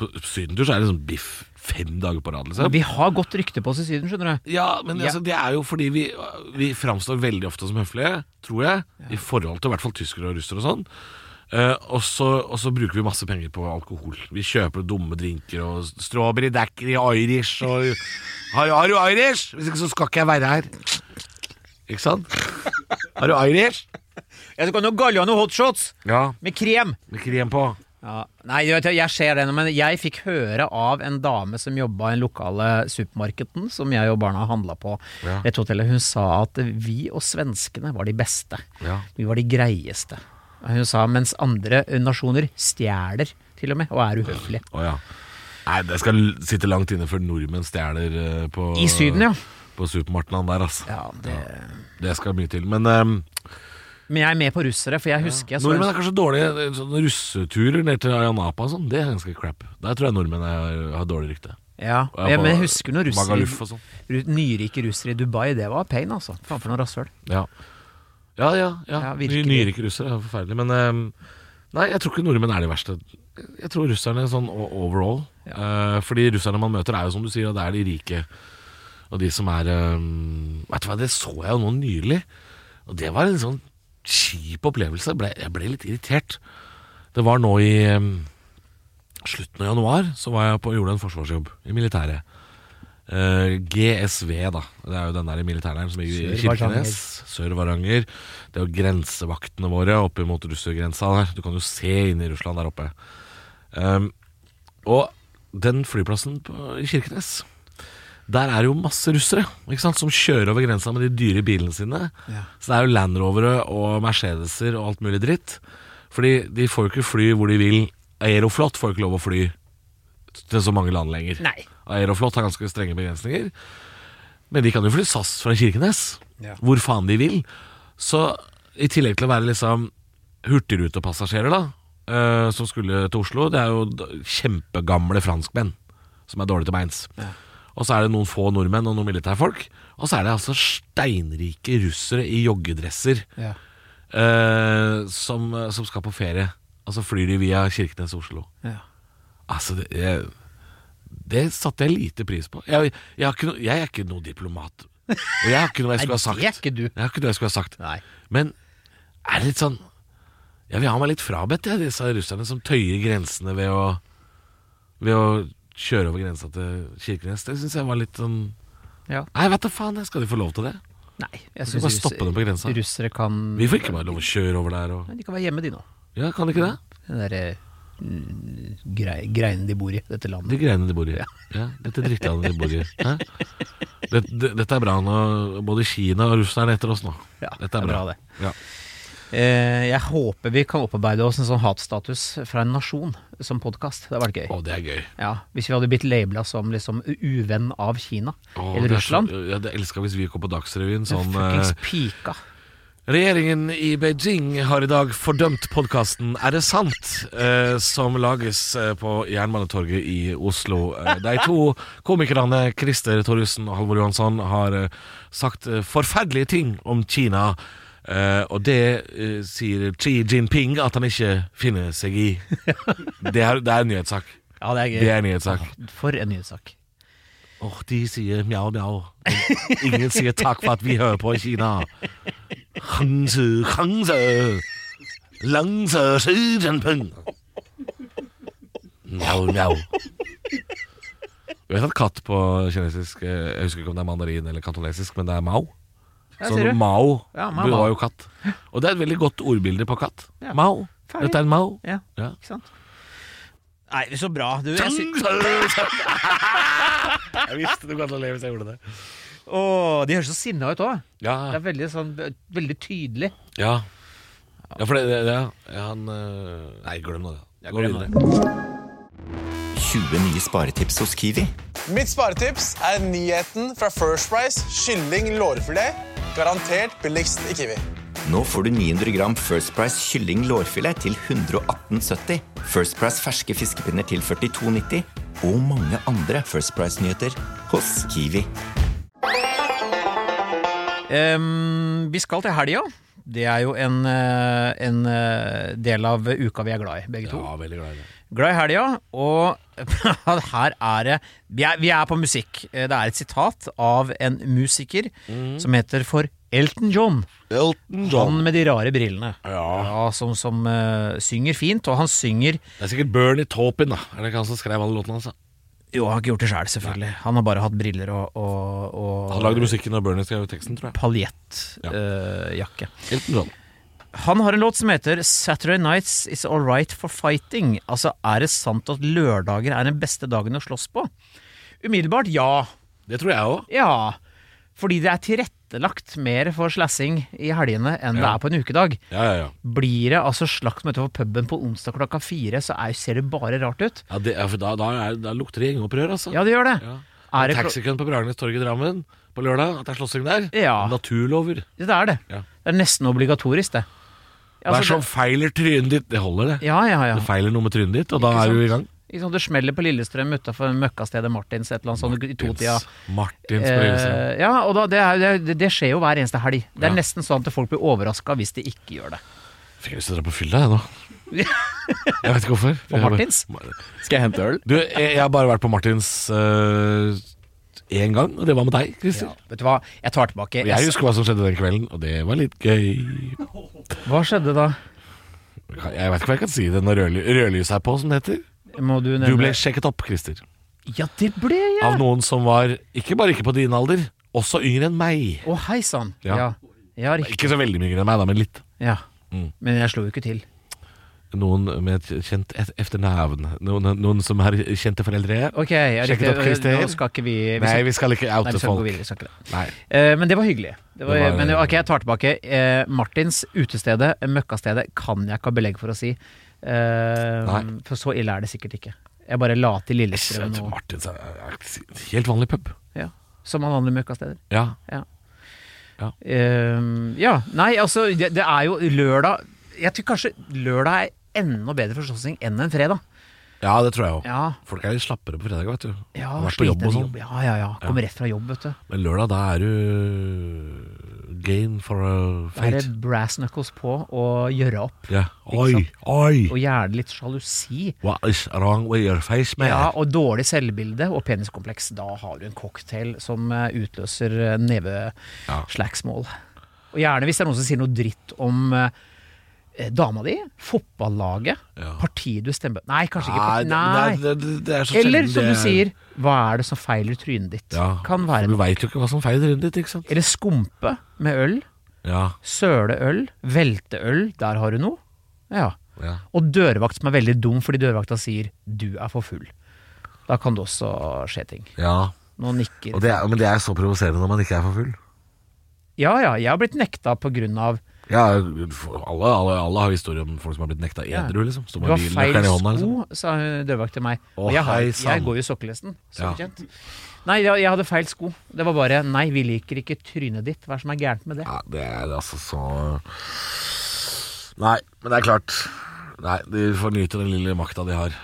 Speaker 3: På sydentur så er det liksom biff fem dager på rad, liksom.
Speaker 2: Vi har godt rykte på oss i Syden, skjønner du.
Speaker 3: Ja, men
Speaker 2: Ja.
Speaker 3: Altså, det er jo fordi vi, vi framstår veldig ofte som høflige, tror jeg, i forhold til i hvert fall tyskere og russere og sånn. Eh, og, så, og så bruker vi masse penger på alkohol. Vi kjøper dumme drinker og strawberry daiquiri Irish og har, har du Irish? Hvis ikke så skal ikke jeg være her. Ikke sant? Har du Irish?
Speaker 2: Jeg skal nå galle ha noen hotshots
Speaker 3: Ja.
Speaker 2: med krem!
Speaker 3: Med krem på.
Speaker 2: Ja. Nei, du vet, jeg ser det nå, men jeg fikk høre av en dame som jobba i den lokale supermarkeden, som jeg og barna handla på
Speaker 3: Ja.
Speaker 2: ved et hotell, hun sa at vi og svenskene var de beste.
Speaker 3: Ja.
Speaker 2: Vi var de greieste. Hun sa mens andre nasjoner stjeler til og med, og er uhøflige.
Speaker 3: Å ja. Nei, det skal l- sitte langt inne før nordmenn stjeler eh, på
Speaker 2: I Syden, ja.
Speaker 3: På supermarkedene der, altså.
Speaker 2: ja det...
Speaker 3: Det skal mye til. Men ehm,
Speaker 2: Men jeg er med på russere, for jeg husker jeg så
Speaker 3: Nordmenn er kanskje dårlige eh, sånne russeturer ned til Ayanapa og sånn. Det er ganske crap. Der tror jeg nordmenn er, har dårlig rykte.
Speaker 2: ja,
Speaker 3: Og er
Speaker 2: men jeg
Speaker 3: på
Speaker 2: husker noen russere
Speaker 3: Magaluf og sånn.
Speaker 2: ru- Nyrike russere i Dubai, det var pain, altså. Faen for noe rasshøl.
Speaker 3: Ja, ja. ja, ja.
Speaker 2: Ja,
Speaker 3: Ny-
Speaker 2: virkelig.
Speaker 3: Nyrike russere er forferdelig. Men ehm, nei, jeg tror ikke nordmenn er de verste. Jeg tror russerne er sånn o- overall. Eh, fordi russerne man møter, er jo som du sier, og det er de rike. Og de som er ehm, Vet du hva, det så jeg jo nå nylig. Og det var en sånn kjip opplevelse. Jeg ble, jeg ble litt irritert. Det var nå i ehm, slutten av januar så var jeg på, gjorde en forsvarsjobb i militæret. Eh, GSV, da. Det er jo den der militærleiren som ligger i
Speaker 2: Sør-Varanger.
Speaker 3: Kirkenes. Sør-Varanger. Det er jo grensevaktene våre oppe mot russergrensa der. Du kan jo se inn i Russland der oppe. Ehm, og den flyplassen på, i Kirkenes der er det jo masse russere ikke sant, som kjører over grensa med de dyre bilene sine. Så det er jo Land Rovere og Mercedeser og alt mulig dritt. Fordi de får jo ikke fly hvor de vil. Aeroflot får jo ikke lov å fly til så mange land lenger.
Speaker 2: Nei.
Speaker 3: Aeroflot har ganske strenge begrensninger. Men de kan jo fly SAS fra Kirkenes,
Speaker 2: Ja.
Speaker 3: hvor faen de vil. Så i tillegg til å være liksom hurtigrutepassasjerer, da, eh, som skulle til Oslo Det er jo d- kjempegamle franskmenn som er dårlige til beins. Og så er det noen få nordmenn og noen militærfolk. Og så er det altså steinrike russere i joggedresser
Speaker 2: Ja.
Speaker 3: eh, som, som skal på ferie. Og så flyr de via Kirkenes og Oslo.
Speaker 2: Ja.
Speaker 3: Altså, det, jeg, det satte jeg lite pris på. Jeg, jeg, har ikke no, jeg er ikke noe diplomat. Og jeg har ikke noe jeg skulle ha sagt.
Speaker 2: Nei, det er ikke du.
Speaker 3: Jeg har ikke noe jeg skulle ha sagt.
Speaker 2: Nei.
Speaker 3: Men er det litt sånn Jeg vil ha meg litt frabedt, jeg, disse russerne som tøyer grensene ved å, ved å kjøre over grensa til Kirkenes. Det syns jeg var litt sånn
Speaker 2: Ja.
Speaker 3: Nei, vet du faen, jeg skal de få lov til det?
Speaker 2: Nei, jeg
Speaker 3: Du kan
Speaker 2: synes
Speaker 3: bare stoppe dem på grensa.
Speaker 2: russere kan
Speaker 3: Vi får ikke bare lov å kjøre over der og
Speaker 2: Nei, De kan være hjemme, de nå.
Speaker 3: Ja, kan de ikke det?
Speaker 2: Den derre mm, grei, greiene de bor i, dette
Speaker 3: De
Speaker 2: landet.
Speaker 3: greiene de bor i. Ja, dette drittlandet de bor i. Hæ? Det- det- Dette er bra nå. Både Kina og Russland er etter oss nå.
Speaker 2: Ja,
Speaker 3: Dette er bra.
Speaker 2: det.
Speaker 3: Ja.
Speaker 2: Eh, jeg håper vi kan opparbeide oss en sånn hatstatus fra en nasjon som podkast. Det hadde vært gøy.
Speaker 3: Å, det er gøy.
Speaker 2: Ja, hvis vi hadde blitt labela som liksom uvenn av Kina
Speaker 3: Å, det
Speaker 2: eller
Speaker 3: er
Speaker 2: Russland.
Speaker 3: Så, jeg hadde elska hvis vi kom på Dagsrevyen sånn
Speaker 2: Fuckings
Speaker 3: eh,
Speaker 2: pika.
Speaker 3: Regjeringen i Beijing har i dag fordømt podkasten Er det sant? Eh, som lages eh, på Jernbanetorget i Oslo. Eh, de to komikerne Christer Torjussen og Halvor Johansson har eh, sagt eh, forferdelige ting om Kina. Eh, og det eh, sier Xi Jinping at han ikke finner seg i. Det er, det er en nyhetssak.
Speaker 2: Ja, det er gøy.
Speaker 3: Det er en nyhetssak.
Speaker 2: For en nyhetssak.
Speaker 3: Åh, de sier mjau, mjau. Men Ingen sier takk for at vi hører på i Kina. Hangzhe, hangzhe. Langzhe, Xi Jinping. Mjau, mjau. Du vet at katt på kinesisk eh, Jeg husker ikke om det er mandarin eller kantonesisk, men det er mao.
Speaker 2: Ja,
Speaker 3: Så
Speaker 2: sier du.
Speaker 3: mao
Speaker 2: Ja, mao, mao.
Speaker 3: var jo katt. Og det er et veldig godt ordbilde på katt.
Speaker 2: Ja.
Speaker 3: Mao.
Speaker 2: Ferdig.
Speaker 3: Dette er en mao.
Speaker 2: Ja,
Speaker 3: Ja.
Speaker 2: ikke
Speaker 3: Sånn.
Speaker 2: sant? Nei, så bra. Du, jeg sy-
Speaker 3: Jeg visste du kom til å le hvis jeg gjorde det.
Speaker 2: Åh, de høres så sinna ut òg.
Speaker 3: Ja,
Speaker 2: Det er veldig, sånn, veldig tydelig.
Speaker 3: Ja. Ja, for det, det, det ja, han øh, Nei, glem det. Gå
Speaker 2: glem
Speaker 3: videre.
Speaker 4: 20 nye sparetips hos Kiwi.
Speaker 5: Mitt sparetips er nyheten fra First Price kylling lårfilet. Garantert billigst i Kiwi.
Speaker 4: Nå får du 900 gram First Price kylling lårfilet til 118,70. First Price ferske fiskepinner til 42,90. Og mange andre First Price-nyheter hos Kiwi.
Speaker 2: Ehm, vi skal til helga. Det er jo en, eh, en eh, del av uka vi er glad i, begge to.
Speaker 3: Ja, veldig glad i det.
Speaker 2: Glad i helga, og her er det vi er, vi er på musikk. Eh, Det er et sitat av en musiker
Speaker 3: Mhm.
Speaker 2: som heter for Elton John.
Speaker 3: Elton
Speaker 2: Han med de rare brillene.
Speaker 3: Ja.
Speaker 2: som som eh, synger fint, og han synger
Speaker 3: Det er sikkert Bernie Taupin, da. Er det ikke han som skrev alle låtene hans? da?
Speaker 2: Jo, han har ikke gjort det sjøl, selv, selvfølgelig. Han har bare hatt briller og, og, og
Speaker 3: Han lagde musikken da Bernie skrev teksten, tror jeg. Ja.
Speaker 2: paljettjakke.
Speaker 3: Elton John.
Speaker 2: Han har en låt som heter 'Saturday Nights Is Alright for Fighting'. Altså, er det sant at lørdager er den beste dagen å slåss på? Umiddelbart ja.
Speaker 3: Det tror jeg òg.
Speaker 2: Ja, fordi det er tilrettelagt mer for slassing i helgene enn det
Speaker 3: Ja.
Speaker 2: er på en ukedag.
Speaker 3: Ja, ja, ja.
Speaker 2: Blir det altså slaktmøte på puben på onsdag klokka fire, så er, ser det bare rart ut.
Speaker 3: ja, det, ja for da, da, er, da lukter det gjengopprør, altså.
Speaker 2: Ja, det gjør det.
Speaker 3: Ja.
Speaker 2: Er det, klo-
Speaker 3: Taxikøen på Bragernes torg i Drammen på lørdag, at det er slåssing der.
Speaker 2: Ja.
Speaker 3: Naturlover.
Speaker 2: det er det.
Speaker 3: Ja.
Speaker 2: Det er nesten obligatorisk, det.
Speaker 3: Hva er
Speaker 2: Altså,
Speaker 3: som feiler trynet ditt? Det holder, det.
Speaker 2: det- Ja, ja, ja.
Speaker 3: Det feiler noe med trynet ditt, og da
Speaker 2: Ikke
Speaker 3: er du
Speaker 2: sant?
Speaker 3: i gang.
Speaker 2: Ikke sant, det smeller på Lillestrøm utafor møkkastedet Martins et eller annet sånt i totida.
Speaker 3: Martins på Lillestrøm.
Speaker 2: Eh, ja, og da, det, er, jo- det, det skjer jo hver eneste helg. Det er
Speaker 3: Ja.
Speaker 2: nesten sånn at folk blir overraska hvis de ikke gjør det.
Speaker 3: Fikk jeg lyst til å dra på fylla, jeg nå. Jeg vet ikke hvorfor.
Speaker 2: På Martins?
Speaker 6: Skal jeg hente øl?
Speaker 3: Du, jeg, jeg har bare vært på Martins én gang, og det var med deg, Christer.
Speaker 2: Ja, vet du hva, jeg tar tilbake.
Speaker 3: Og Jeg husker hva som skjedde den kvelden, og det var litt gøy.
Speaker 2: Hva skjedde da?
Speaker 3: Jeg vet ikke hva jeg kan si det når rødly- rødlyset er på, som det heter.
Speaker 2: Må du nevne
Speaker 3: Du ble sjekket opp, Christer.
Speaker 2: Ja, det ble jeg!
Speaker 3: Av noen som var ikke bare ikke på din alder, også yngre enn meg.
Speaker 2: Å, hei sann.
Speaker 3: Ah. Ja.
Speaker 2: Ja. Ja. riktig.
Speaker 3: Ikke så veldig mye yngre enn meg, da, men litt.
Speaker 2: Ja.
Speaker 3: Mm.
Speaker 2: Men jeg slo jo ikke til.
Speaker 3: Noen med et kjent et- etternavn. Noen, noen som har kjente foreldre.
Speaker 2: Ok, ja,
Speaker 3: Sjekket
Speaker 2: riktig.
Speaker 3: opp, Christer.
Speaker 2: Nå skal ikke vi, vi
Speaker 3: Nei,
Speaker 2: skal-
Speaker 3: vi skal ikke
Speaker 2: Nei, vi
Speaker 3: oute
Speaker 2: skal ikke gå
Speaker 3: folk.
Speaker 2: videre. Vi skal ikke det.
Speaker 3: Nei.
Speaker 2: Eh, men det var hyggelig. Det var,
Speaker 3: Det var-
Speaker 2: men ok, jeg tar tilbake. Eh, Martins utestedet, møkkastedet, kan jeg ikke ha belegg for å si. Eh,
Speaker 3: Nei.
Speaker 2: For så ille er det sikkert ikke. Jeg bare la til Lillestrøm
Speaker 3: Sjøt,
Speaker 2: nå.
Speaker 3: Martins er- er helt vanlig pub.
Speaker 2: Ja. Som alle andre møkkasteder.
Speaker 3: Ja.
Speaker 2: Ehm, ja, nei, altså det, det er jo lørdag Jeg tror kanskje lørdag er enda bedre for slåssing enn en fredag.
Speaker 3: ja, det tror jeg òg.
Speaker 2: Ja,
Speaker 3: Folk er litt slappere på fredag, vet du.
Speaker 2: ja
Speaker 3: Har vært på
Speaker 2: sliten
Speaker 3: jobb og
Speaker 2: etter
Speaker 3: sånn.
Speaker 2: Ja, ja, ja. Kommer rett fra jobb, vet du.
Speaker 3: Men lørdag, da er du game for a
Speaker 2: Da er
Speaker 3: fight.
Speaker 2: det brass knuckles på og gjøre opp.
Speaker 3: Ja. Oi,
Speaker 2: Ikke
Speaker 3: oi!
Speaker 2: Og gjerne litt sjalusi.
Speaker 3: What is wrong with your face, man?
Speaker 2: Ja, og dårlig selvbilde og peniskompleks. Da har du en cocktail som eh, utløser eh,
Speaker 3: Ja.
Speaker 2: neveslagsmål. Og gjerne hvis det er noen som sier noe dritt om eh, dama di, fotballaget,
Speaker 3: Ja.
Speaker 2: partiet du stemmer Nei, kanskje ikke. Parti,
Speaker 3: Nei,
Speaker 2: nei.
Speaker 3: det, det, det er så
Speaker 2: Eller
Speaker 3: sjelden
Speaker 2: som du
Speaker 3: det er-
Speaker 2: sier, hva er det som feiler trynet ditt?
Speaker 3: Ja,
Speaker 2: Kan
Speaker 3: for Du
Speaker 2: være
Speaker 3: veit jo ikke hva som feiler rundt ditt, ikke sant?
Speaker 2: Eller skumpe med øl.
Speaker 3: Ja,
Speaker 2: Søleøl. Velteøl. Der har du noe. Ja.
Speaker 3: ja.
Speaker 2: Og dørvakt som er veldig dum fordi dørvakta sier 'du er for full'. Da kan det også skje ting.
Speaker 3: ja.
Speaker 2: Nå nikker
Speaker 3: Og det er, men det er så provoserende når man ikke er for full.
Speaker 2: Ja ja, jeg har blitt nekta på grunn av
Speaker 3: Ja, for alle, alle, alle har historier om folk som har blitt nekta edru, liksom. Står
Speaker 2: Du
Speaker 3: med
Speaker 2: har
Speaker 3: bilen,
Speaker 2: feil
Speaker 3: nøkkelen i hånda, liksom.
Speaker 2: sko, sa dørvakt til meg.
Speaker 3: Å,
Speaker 2: Og jeg, har,
Speaker 3: hei sann.
Speaker 2: jeg går jo i sokkelesten, som
Speaker 3: Ja.
Speaker 2: kjent. Nei, jeg, jeg hadde feil sko. Det var bare 'nei, vi liker ikke trynet ditt'. Hva er det som er gærent med det?
Speaker 3: Ja, det er altså så Nei, men det er klart. Nei, de får nyte den lille makta de har.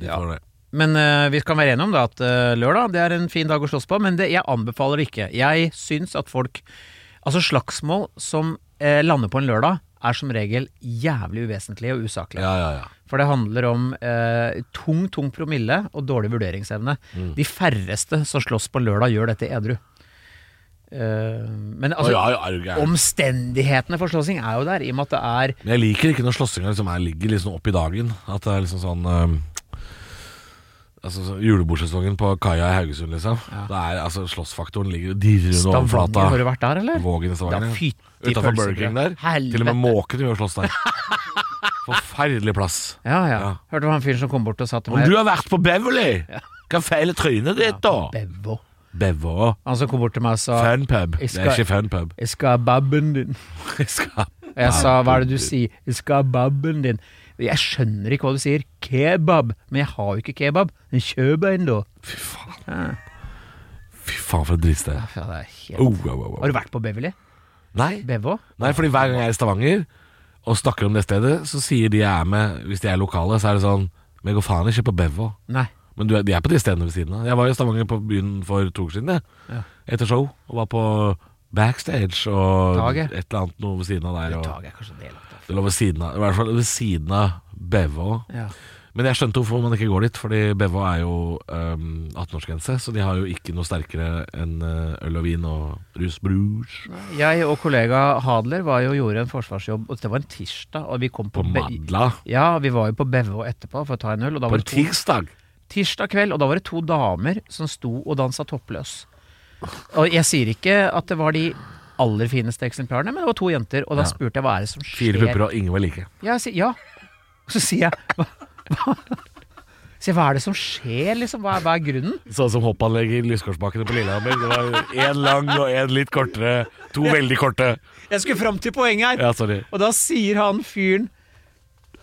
Speaker 3: De får det.
Speaker 2: Men eh, vi kan være enige om da at eh, lørdag det er en fin dag å slåss på, men det, jeg anbefaler det ikke. Jeg syns at folk Altså, slagsmål som eh, lander på en lørdag, er som regel jævlig uvesentlige og usaklige.
Speaker 3: Ja, ja, ja.
Speaker 2: For det handler om eh, tung, tung promille og dårlig vurderingsevne.
Speaker 3: Mm.
Speaker 2: De færreste som slåss på lørdag, gjør dette edru. Eh, men
Speaker 3: Å,
Speaker 2: altså,
Speaker 3: ja, ja, er du gæren?
Speaker 2: omstendighetene for slåssing er jo der, i og med at det er
Speaker 3: Men jeg liker ikke når slåssinga liksom er- ligger liksom opp i dagen. At det er liksom sånn ehm, Altså så Julebordsesongen på kaia i Haugesund, liksom. Det er, altså Slåssfaktoren ligger og dirrer under
Speaker 2: Stavanger. Har du
Speaker 3: overflata.
Speaker 2: vært der, eller?
Speaker 3: Vågen i Stavanger.
Speaker 2: Da
Speaker 3: ja.
Speaker 2: fytti
Speaker 3: Utenfor
Speaker 2: pølsebrød.
Speaker 3: Burger King der. Til og
Speaker 2: Helvete.
Speaker 3: med måkene gjør slåss der. Forferdelig plass.
Speaker 2: Ja, ja.
Speaker 3: Ja.
Speaker 2: Hørte du han fyren som kom bort og sa til
Speaker 3: Om
Speaker 2: meg
Speaker 3: du har vært på Beverly, hva feiler trynet ditt da?
Speaker 2: Bevo.
Speaker 3: Bevo.
Speaker 2: Han som kom bort til meg og sa
Speaker 3: Fun pub.
Speaker 2: Jeg
Speaker 3: Det
Speaker 2: skal-
Speaker 3: er ikke fun pub.
Speaker 2: Jeg skal ha babben din.
Speaker 3: Jeg skal-
Speaker 2: Og jeg sa hva er det du sier? Jeg skal ha babben din. Jeg skjønner ikke hva du sier. Kebab. Men jeg har jo ikke kebab. Men kjøp en, da.
Speaker 3: Fy faen. Fy faen, for et drittsted.
Speaker 2: Ja, det er helt...
Speaker 3: Oh, wow, wow, wow.
Speaker 2: Har du vært på Beverly?
Speaker 3: Nei.
Speaker 2: Bevo?
Speaker 3: Nei, fordi hver gang jeg er i Stavanger og snakker om det stedet, så sier de jeg er med, hvis de er lokale, så er det sånn Men jeg går faen ikke på Bevo.
Speaker 2: Nei.
Speaker 3: Men du, er- de er på de stedene ved siden av. Jeg var i Stavanger på byen for to uker siden, jeg. Etter show. Og var på Backstage og
Speaker 2: Taget.
Speaker 3: et eller annet noe ved siden av der.
Speaker 2: Eller
Speaker 3: Og,
Speaker 2: Tage er kanskje delaktig.
Speaker 3: det lå ved siden av, I hvert fall ved siden av Bevo.
Speaker 2: Ja.
Speaker 3: Men jeg skjønte hvorfor man ikke går dit, fordi Bevo er jo ehm, 18-årsgrense, så de har jo ikke noe sterkere enn eh, øl og vin og rus brus.
Speaker 2: Jeg og kollega Hadler var jo, gjorde en forsvarsjobb, og det var en tirsdag. Og vi kom på,
Speaker 3: På
Speaker 2: Be-
Speaker 3: Madla.
Speaker 2: Ja, vi var jo på Bevo etterpå for å ta en øl. Og da
Speaker 3: På
Speaker 2: var
Speaker 3: en
Speaker 2: det to,
Speaker 3: tirsdag.
Speaker 2: tirsdag kveld, og da var det to damer som sto og dansa toppløs. Og jeg sier ikke at det var de aller fineste eksemplarene, men det var to jenter. Og da spurte jeg hva er det som skjer.
Speaker 3: Fire pupper og ingen var like.
Speaker 2: Ja, jeg sier, ja. Og så sier jeg hva, hva, sier, jeg, hva er det som skjer, liksom? Hva er, hva er grunnen?
Speaker 3: Sånn som hoppanlegget i Lyskårsbakkene på Lillehammer. Det var én lang og én litt kortere. To veldig korte.
Speaker 2: Jeg skulle fram til poenget her.
Speaker 3: Ja, sorry.
Speaker 2: Og da sier han fyren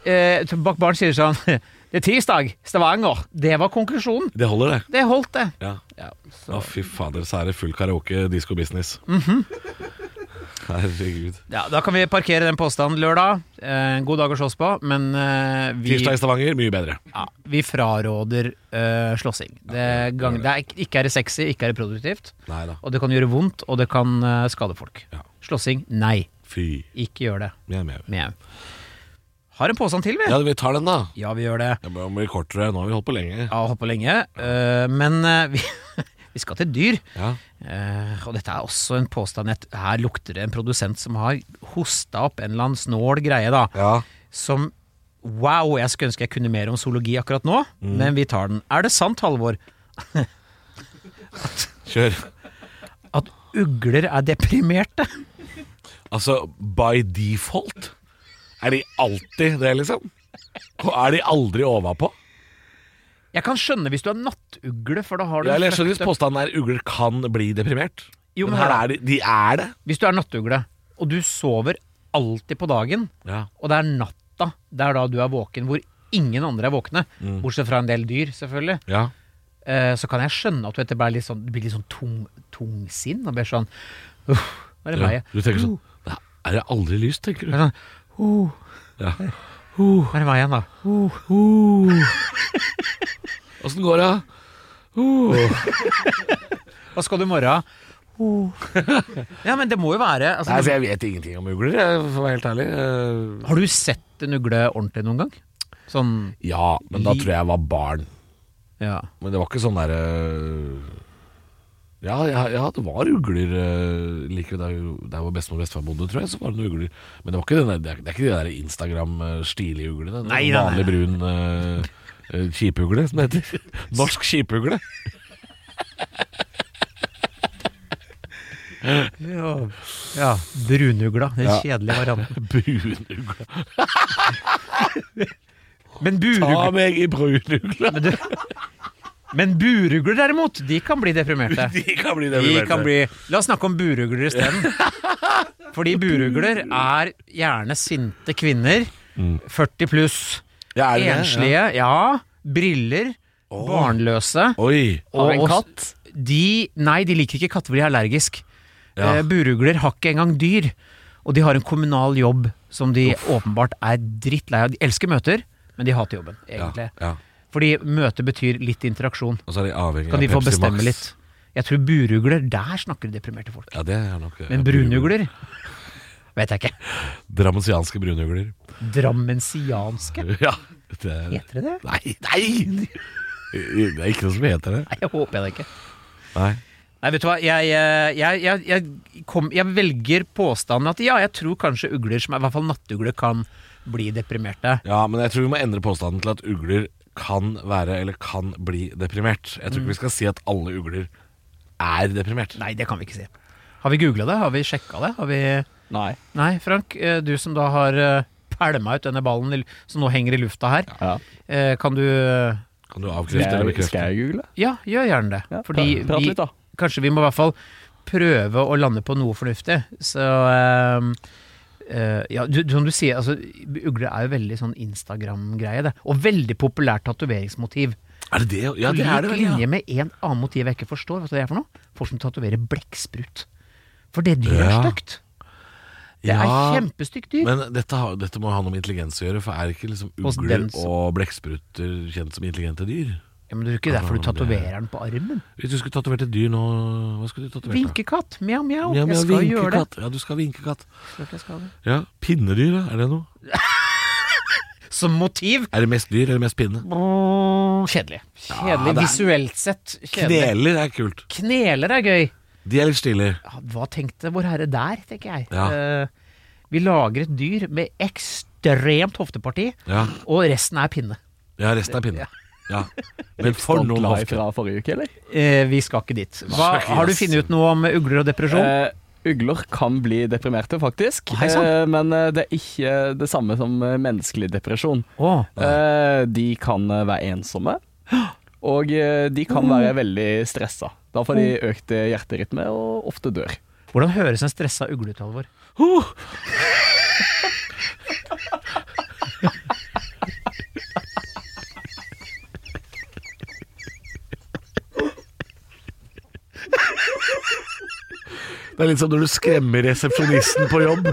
Speaker 2: eh, bak baren sier sånn Det er tirsdag, Stavanger. Det var konklusjonen.
Speaker 3: Det holder, det.
Speaker 2: Det holdt, det.
Speaker 3: Ja.
Speaker 2: Ja,
Speaker 3: Å,
Speaker 2: så,
Speaker 3: fy fader, så er det full karaoke, disco business. Herregud.
Speaker 2: ja, da kan vi parkere den påstanden lørdag. Eh, god dag å slåss på, men eh, vi,
Speaker 3: Tirsdag i Stavanger, mye bedre.
Speaker 2: ja, vi fraråder eh, slåssing. Det, gang, det er, ikke- ikke er det sexy, ikke er det produktivt.
Speaker 3: Nei da.
Speaker 2: Og det kan gjøre vondt, og det kan eh, skade folk.
Speaker 3: Ja.
Speaker 2: Slåssing nei.
Speaker 3: Fy.
Speaker 2: Ikke gjør det.
Speaker 3: Mjau, mjau.
Speaker 2: Mjau. Har en påstand til, vi.
Speaker 3: Ja, vi tar den, da.
Speaker 2: ja vi gjør det.
Speaker 3: Det må bli kortere. Nå har vi holdt på lenge.
Speaker 2: Ja, holdt på lenge. eh, men eh, vi, vi skal til dyr.
Speaker 3: Ja.
Speaker 2: Eh, og dette er også en påstand. Et- Her lukter det en produsent som har hosta opp en eller annen snål greie, da.
Speaker 3: Ja.
Speaker 2: Som Wow, jeg skulle ønske jeg kunne mer om zoologi akkurat nå,
Speaker 3: Mm.
Speaker 2: men vi tar den. Er det sant, Halvor,
Speaker 3: Kjør.
Speaker 2: at ugler er deprimerte?
Speaker 3: Altså, by default Er de alltid det, liksom? Og er de aldri overpå?
Speaker 2: Jeg kan skjønne hvis du er nattugle, for da har du
Speaker 3: Ja, eller jeg skjønner hvis
Speaker 2: fucked up-
Speaker 3: påstanden er ugler kan bli deprimert.
Speaker 2: Jo,
Speaker 3: men
Speaker 2: men
Speaker 3: her
Speaker 2: hør da.
Speaker 3: er de, de er det.
Speaker 2: Hvis du er nattugle, og du sover alltid på dagen,
Speaker 3: Ja.
Speaker 2: og det er natta, det er da du er våken, hvor ingen andre er våkne,
Speaker 3: Mm.
Speaker 2: bortsett fra en del dyr, selvfølgelig,
Speaker 3: Ja.
Speaker 2: eh, så kan jeg skjønne at du etter hvert blir litt sånn, blir litt sånn tung, tungsinn og blir sånn Uff, nå er det meg.
Speaker 3: Du tenker sånn "Nei, Er det aldri lyst, tenker du?
Speaker 2: uh. Sånn, «Huh,
Speaker 3: Ja.
Speaker 2: nå er det meg igjen, da. «Huh». uh."
Speaker 3: Åssen går det?
Speaker 2: Hva skal du i morgen? «Huh». Ja, men det må jo være altså,
Speaker 3: Nei, altså, Jeg vet ingenting om ugler, jeg, for å være helt ærlig. Eh,
Speaker 2: Har du sett en ugle ordentlig noen gang? Sånn
Speaker 3: Ja, men da
Speaker 2: Li-
Speaker 3: tror jeg jeg var barn.
Speaker 2: Ja.
Speaker 3: Men det var ikke sånn derre ja, ja, ja, det var ugler eh, like ved der, der hvor bestemor og bestefar bodde, tror jeg. Så var det noen ugler. Men det, var ikke den der, det, er, det er ikke de der Instagram-stilige uglene. Det er
Speaker 2: Nei, nei,
Speaker 3: noen
Speaker 2: nei.
Speaker 3: vanlig brun eh, eh, kipugle, som det heter. Norsk kipugle.
Speaker 2: Ja, ja Brunugla. Den
Speaker 3: Ja.
Speaker 2: kjedelige varianten.
Speaker 3: Brunugle.
Speaker 2: Men
Speaker 3: Ta
Speaker 2: burugle
Speaker 3: meg i brunugle!
Speaker 2: Men, du, men burugler derimot, de kan bli deprimerte.
Speaker 3: De kan bli
Speaker 2: De
Speaker 3: deprimerte.
Speaker 2: kan bli La oss snakke om burugler isteden. Fordi burugler er gjerne sinte kvinner.
Speaker 3: Mm.
Speaker 2: 40 pluss.
Speaker 3: Ja, er det det?
Speaker 2: Enslige. Ja. Briller. Barnløse.
Speaker 3: Ja. Oi.
Speaker 2: og-
Speaker 3: Og-
Speaker 2: og- De, nei, de liker ikke katter, for de er allergisk.
Speaker 3: Ja.
Speaker 2: Eh, burugler har ikke engang dyr. Og de har en kommunal jobb som de åpenbart er drittlei av. De elsker møter, men de hater jobben, egentlig.
Speaker 3: Ja, ja.
Speaker 2: Fordi møte betyr litt interaksjon.
Speaker 3: Og så er de avhengig
Speaker 2: Kan de få
Speaker 3: Pepsi
Speaker 2: bestemme
Speaker 3: Max.
Speaker 2: litt? Jeg tror burugler, der snakker de deprimerte folk.
Speaker 3: Ja, det er nok
Speaker 2: Men brunugler? Vet jeg ikke.
Speaker 3: Drammensianske brunugler.
Speaker 2: Drammensianske?
Speaker 3: Ja, det er
Speaker 2: Heter det det?
Speaker 3: Nei, nei! Det er ikke noe som heter det.
Speaker 2: Nei, jeg håper jeg det ikke.
Speaker 3: Nei.
Speaker 2: Nei, vet du hva. Jeg, eh, jeg, jeg, jeg, kom, jeg velger påstanden at ja, jeg tror kanskje ugler, som er, i hvert fall nattugler, kan bli deprimerte.
Speaker 3: Ja, men jeg tror vi må endre påstanden til at ugler kan være eller kan bli deprimert. Jeg tror ikke vi skal si at alle ugler er deprimert.
Speaker 2: Nei, det kan vi ikke si. Har vi googla det? Har vi sjekka det? Har vi
Speaker 6: Nei.
Speaker 2: Nei, Frank. eh, Du som da har eh, pælma ut denne ballen i lu- som nå henger i lufta her.
Speaker 6: Ja.
Speaker 2: eh, Kan du eh,
Speaker 3: Kan du
Speaker 6: Skal
Speaker 3: avkrefte eller
Speaker 6: jeg,
Speaker 3: bekrefte?
Speaker 6: skal jeg google?
Speaker 2: Ja, gjør gjerne det.
Speaker 6: Ja,
Speaker 2: Fordi
Speaker 6: pra- prat
Speaker 2: vi,
Speaker 6: litt, da.
Speaker 2: kanskje vi må i hvert fall prøve å lande på noe fornuftig. Så ehm, eh, ja, du, som du sier, altså, ugler er jo veldig sånn Instagram-greie, det. Og veldig populært tatoveringsmotiv.
Speaker 3: Er det det? Ja,
Speaker 2: På
Speaker 3: det
Speaker 2: lik
Speaker 3: er det vel.
Speaker 2: linje
Speaker 3: Ja.
Speaker 2: med en annen motiv jeg ikke forstår. Vet du hva det er for noe? Folk som tatoverer blekksprut. For det dyret er
Speaker 3: Ja.
Speaker 2: stygt. Det er
Speaker 3: Ja,
Speaker 2: kjempestygt dyr.
Speaker 3: Men dette, har, dette må ha noe med intelligens å gjøre, for er ikke liksom
Speaker 2: Hos
Speaker 3: ugler
Speaker 2: den som-
Speaker 3: og blekkspruter kjent som intelligente dyr?
Speaker 2: Ja, men Det er jo ikke derfor du tatoverer den på armen.
Speaker 3: Hvis du skulle tatovert et dyr nå, hva skulle du tatovert? da?
Speaker 2: Vinkekatt! Mjau, mjau.
Speaker 3: Ja, men
Speaker 2: Jeg skal gjøre det.
Speaker 3: vinkekatt. Ja, du skal ha vinkekatt.
Speaker 2: Klart jeg skal det.
Speaker 3: Ja, Pinnedyr, da? Er det noe?
Speaker 2: Som motiv!
Speaker 3: Er det mest dyr eller mest pinne?
Speaker 2: Åh, Kjedelig.
Speaker 3: Ja,
Speaker 2: Kjedelig.
Speaker 3: det er-
Speaker 2: Visuelt sett kjedelig.
Speaker 3: Kneler er kult.
Speaker 2: Kneler er gøy.
Speaker 3: De er litt stille.
Speaker 2: Ja, Hva tenkte vår herre der, tenker jeg.
Speaker 3: Ja.
Speaker 2: Eh, vi lager et dyr med ekstremt hofteparti,
Speaker 3: Ja,
Speaker 2: og resten er pinne.
Speaker 3: ja resten er pinne. Ja. Men for
Speaker 6: Stand
Speaker 3: noen
Speaker 6: live
Speaker 3: hofter.
Speaker 6: fra forrige uke, eller?
Speaker 2: Eh, vi skal ikke dit. Hva, har du funnet ut noe om ugler og depresjon?
Speaker 6: Eh, ugler kan bli deprimerte, faktisk.
Speaker 2: Hei sann.
Speaker 6: Eh, men eh, det er ikke det samme som eh, menneskelig depresjon.
Speaker 2: Åh,
Speaker 6: Eh, de kan eh, være ensomme, og eh, de kan være veldig stressa. Da får de økt eh, hjerterytme og ofte dør.
Speaker 2: hvordan høres en stressa ugle ut, Halvor?
Speaker 3: Det er litt som når du skremmer resepsjonisten på jobb.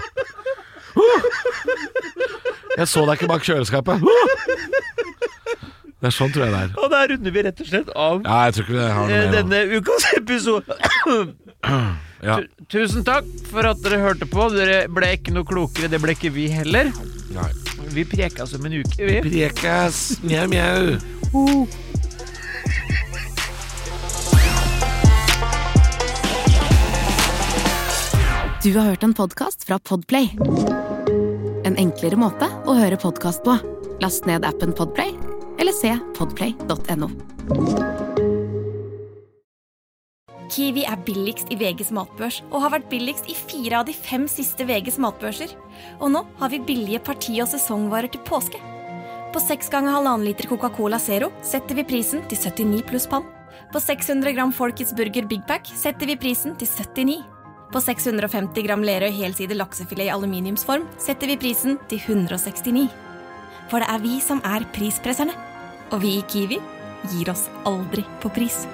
Speaker 3: Jeg så deg ikke bak kjøleskapet. Det er sånn tror jeg det er.
Speaker 2: Og der runder vi rett og slett av eh,
Speaker 3: Ja, jeg tror ikke vi har noe mer. nå.
Speaker 2: ukas episode.
Speaker 3: Ja.
Speaker 2: Tusen takk for at dere hørte på. Dere ble ikke noe klokere, det ble ikke vi heller.
Speaker 3: Nei.
Speaker 2: Vi preka som en uke, vi.
Speaker 3: Prekas, mjau, mjau.
Speaker 1: Du har hørt en podcast fra Podplay. En enklere måte å høre podcast på. Last ned appen Podplay, eller se podplay.no.
Speaker 7: Kiwi er billigst i VGs matbørs og har vært billigst i fire av de fem siste VGs matbørser. Og nå har vi billige parti- og sesongvarer til påske. På 6 ganger halvannen liter Coca-Cola Zero setter vi prisen til 79 pluss pann. På 600 gram Folkets Burger Big Pack setter vi prisen til 79. På 650 gram Lerøy helside laksefilet i aluminiumsform setter vi prisen til 169. For det er vi som er prispresserne. Og vi i Kiwi gir oss aldri på pris.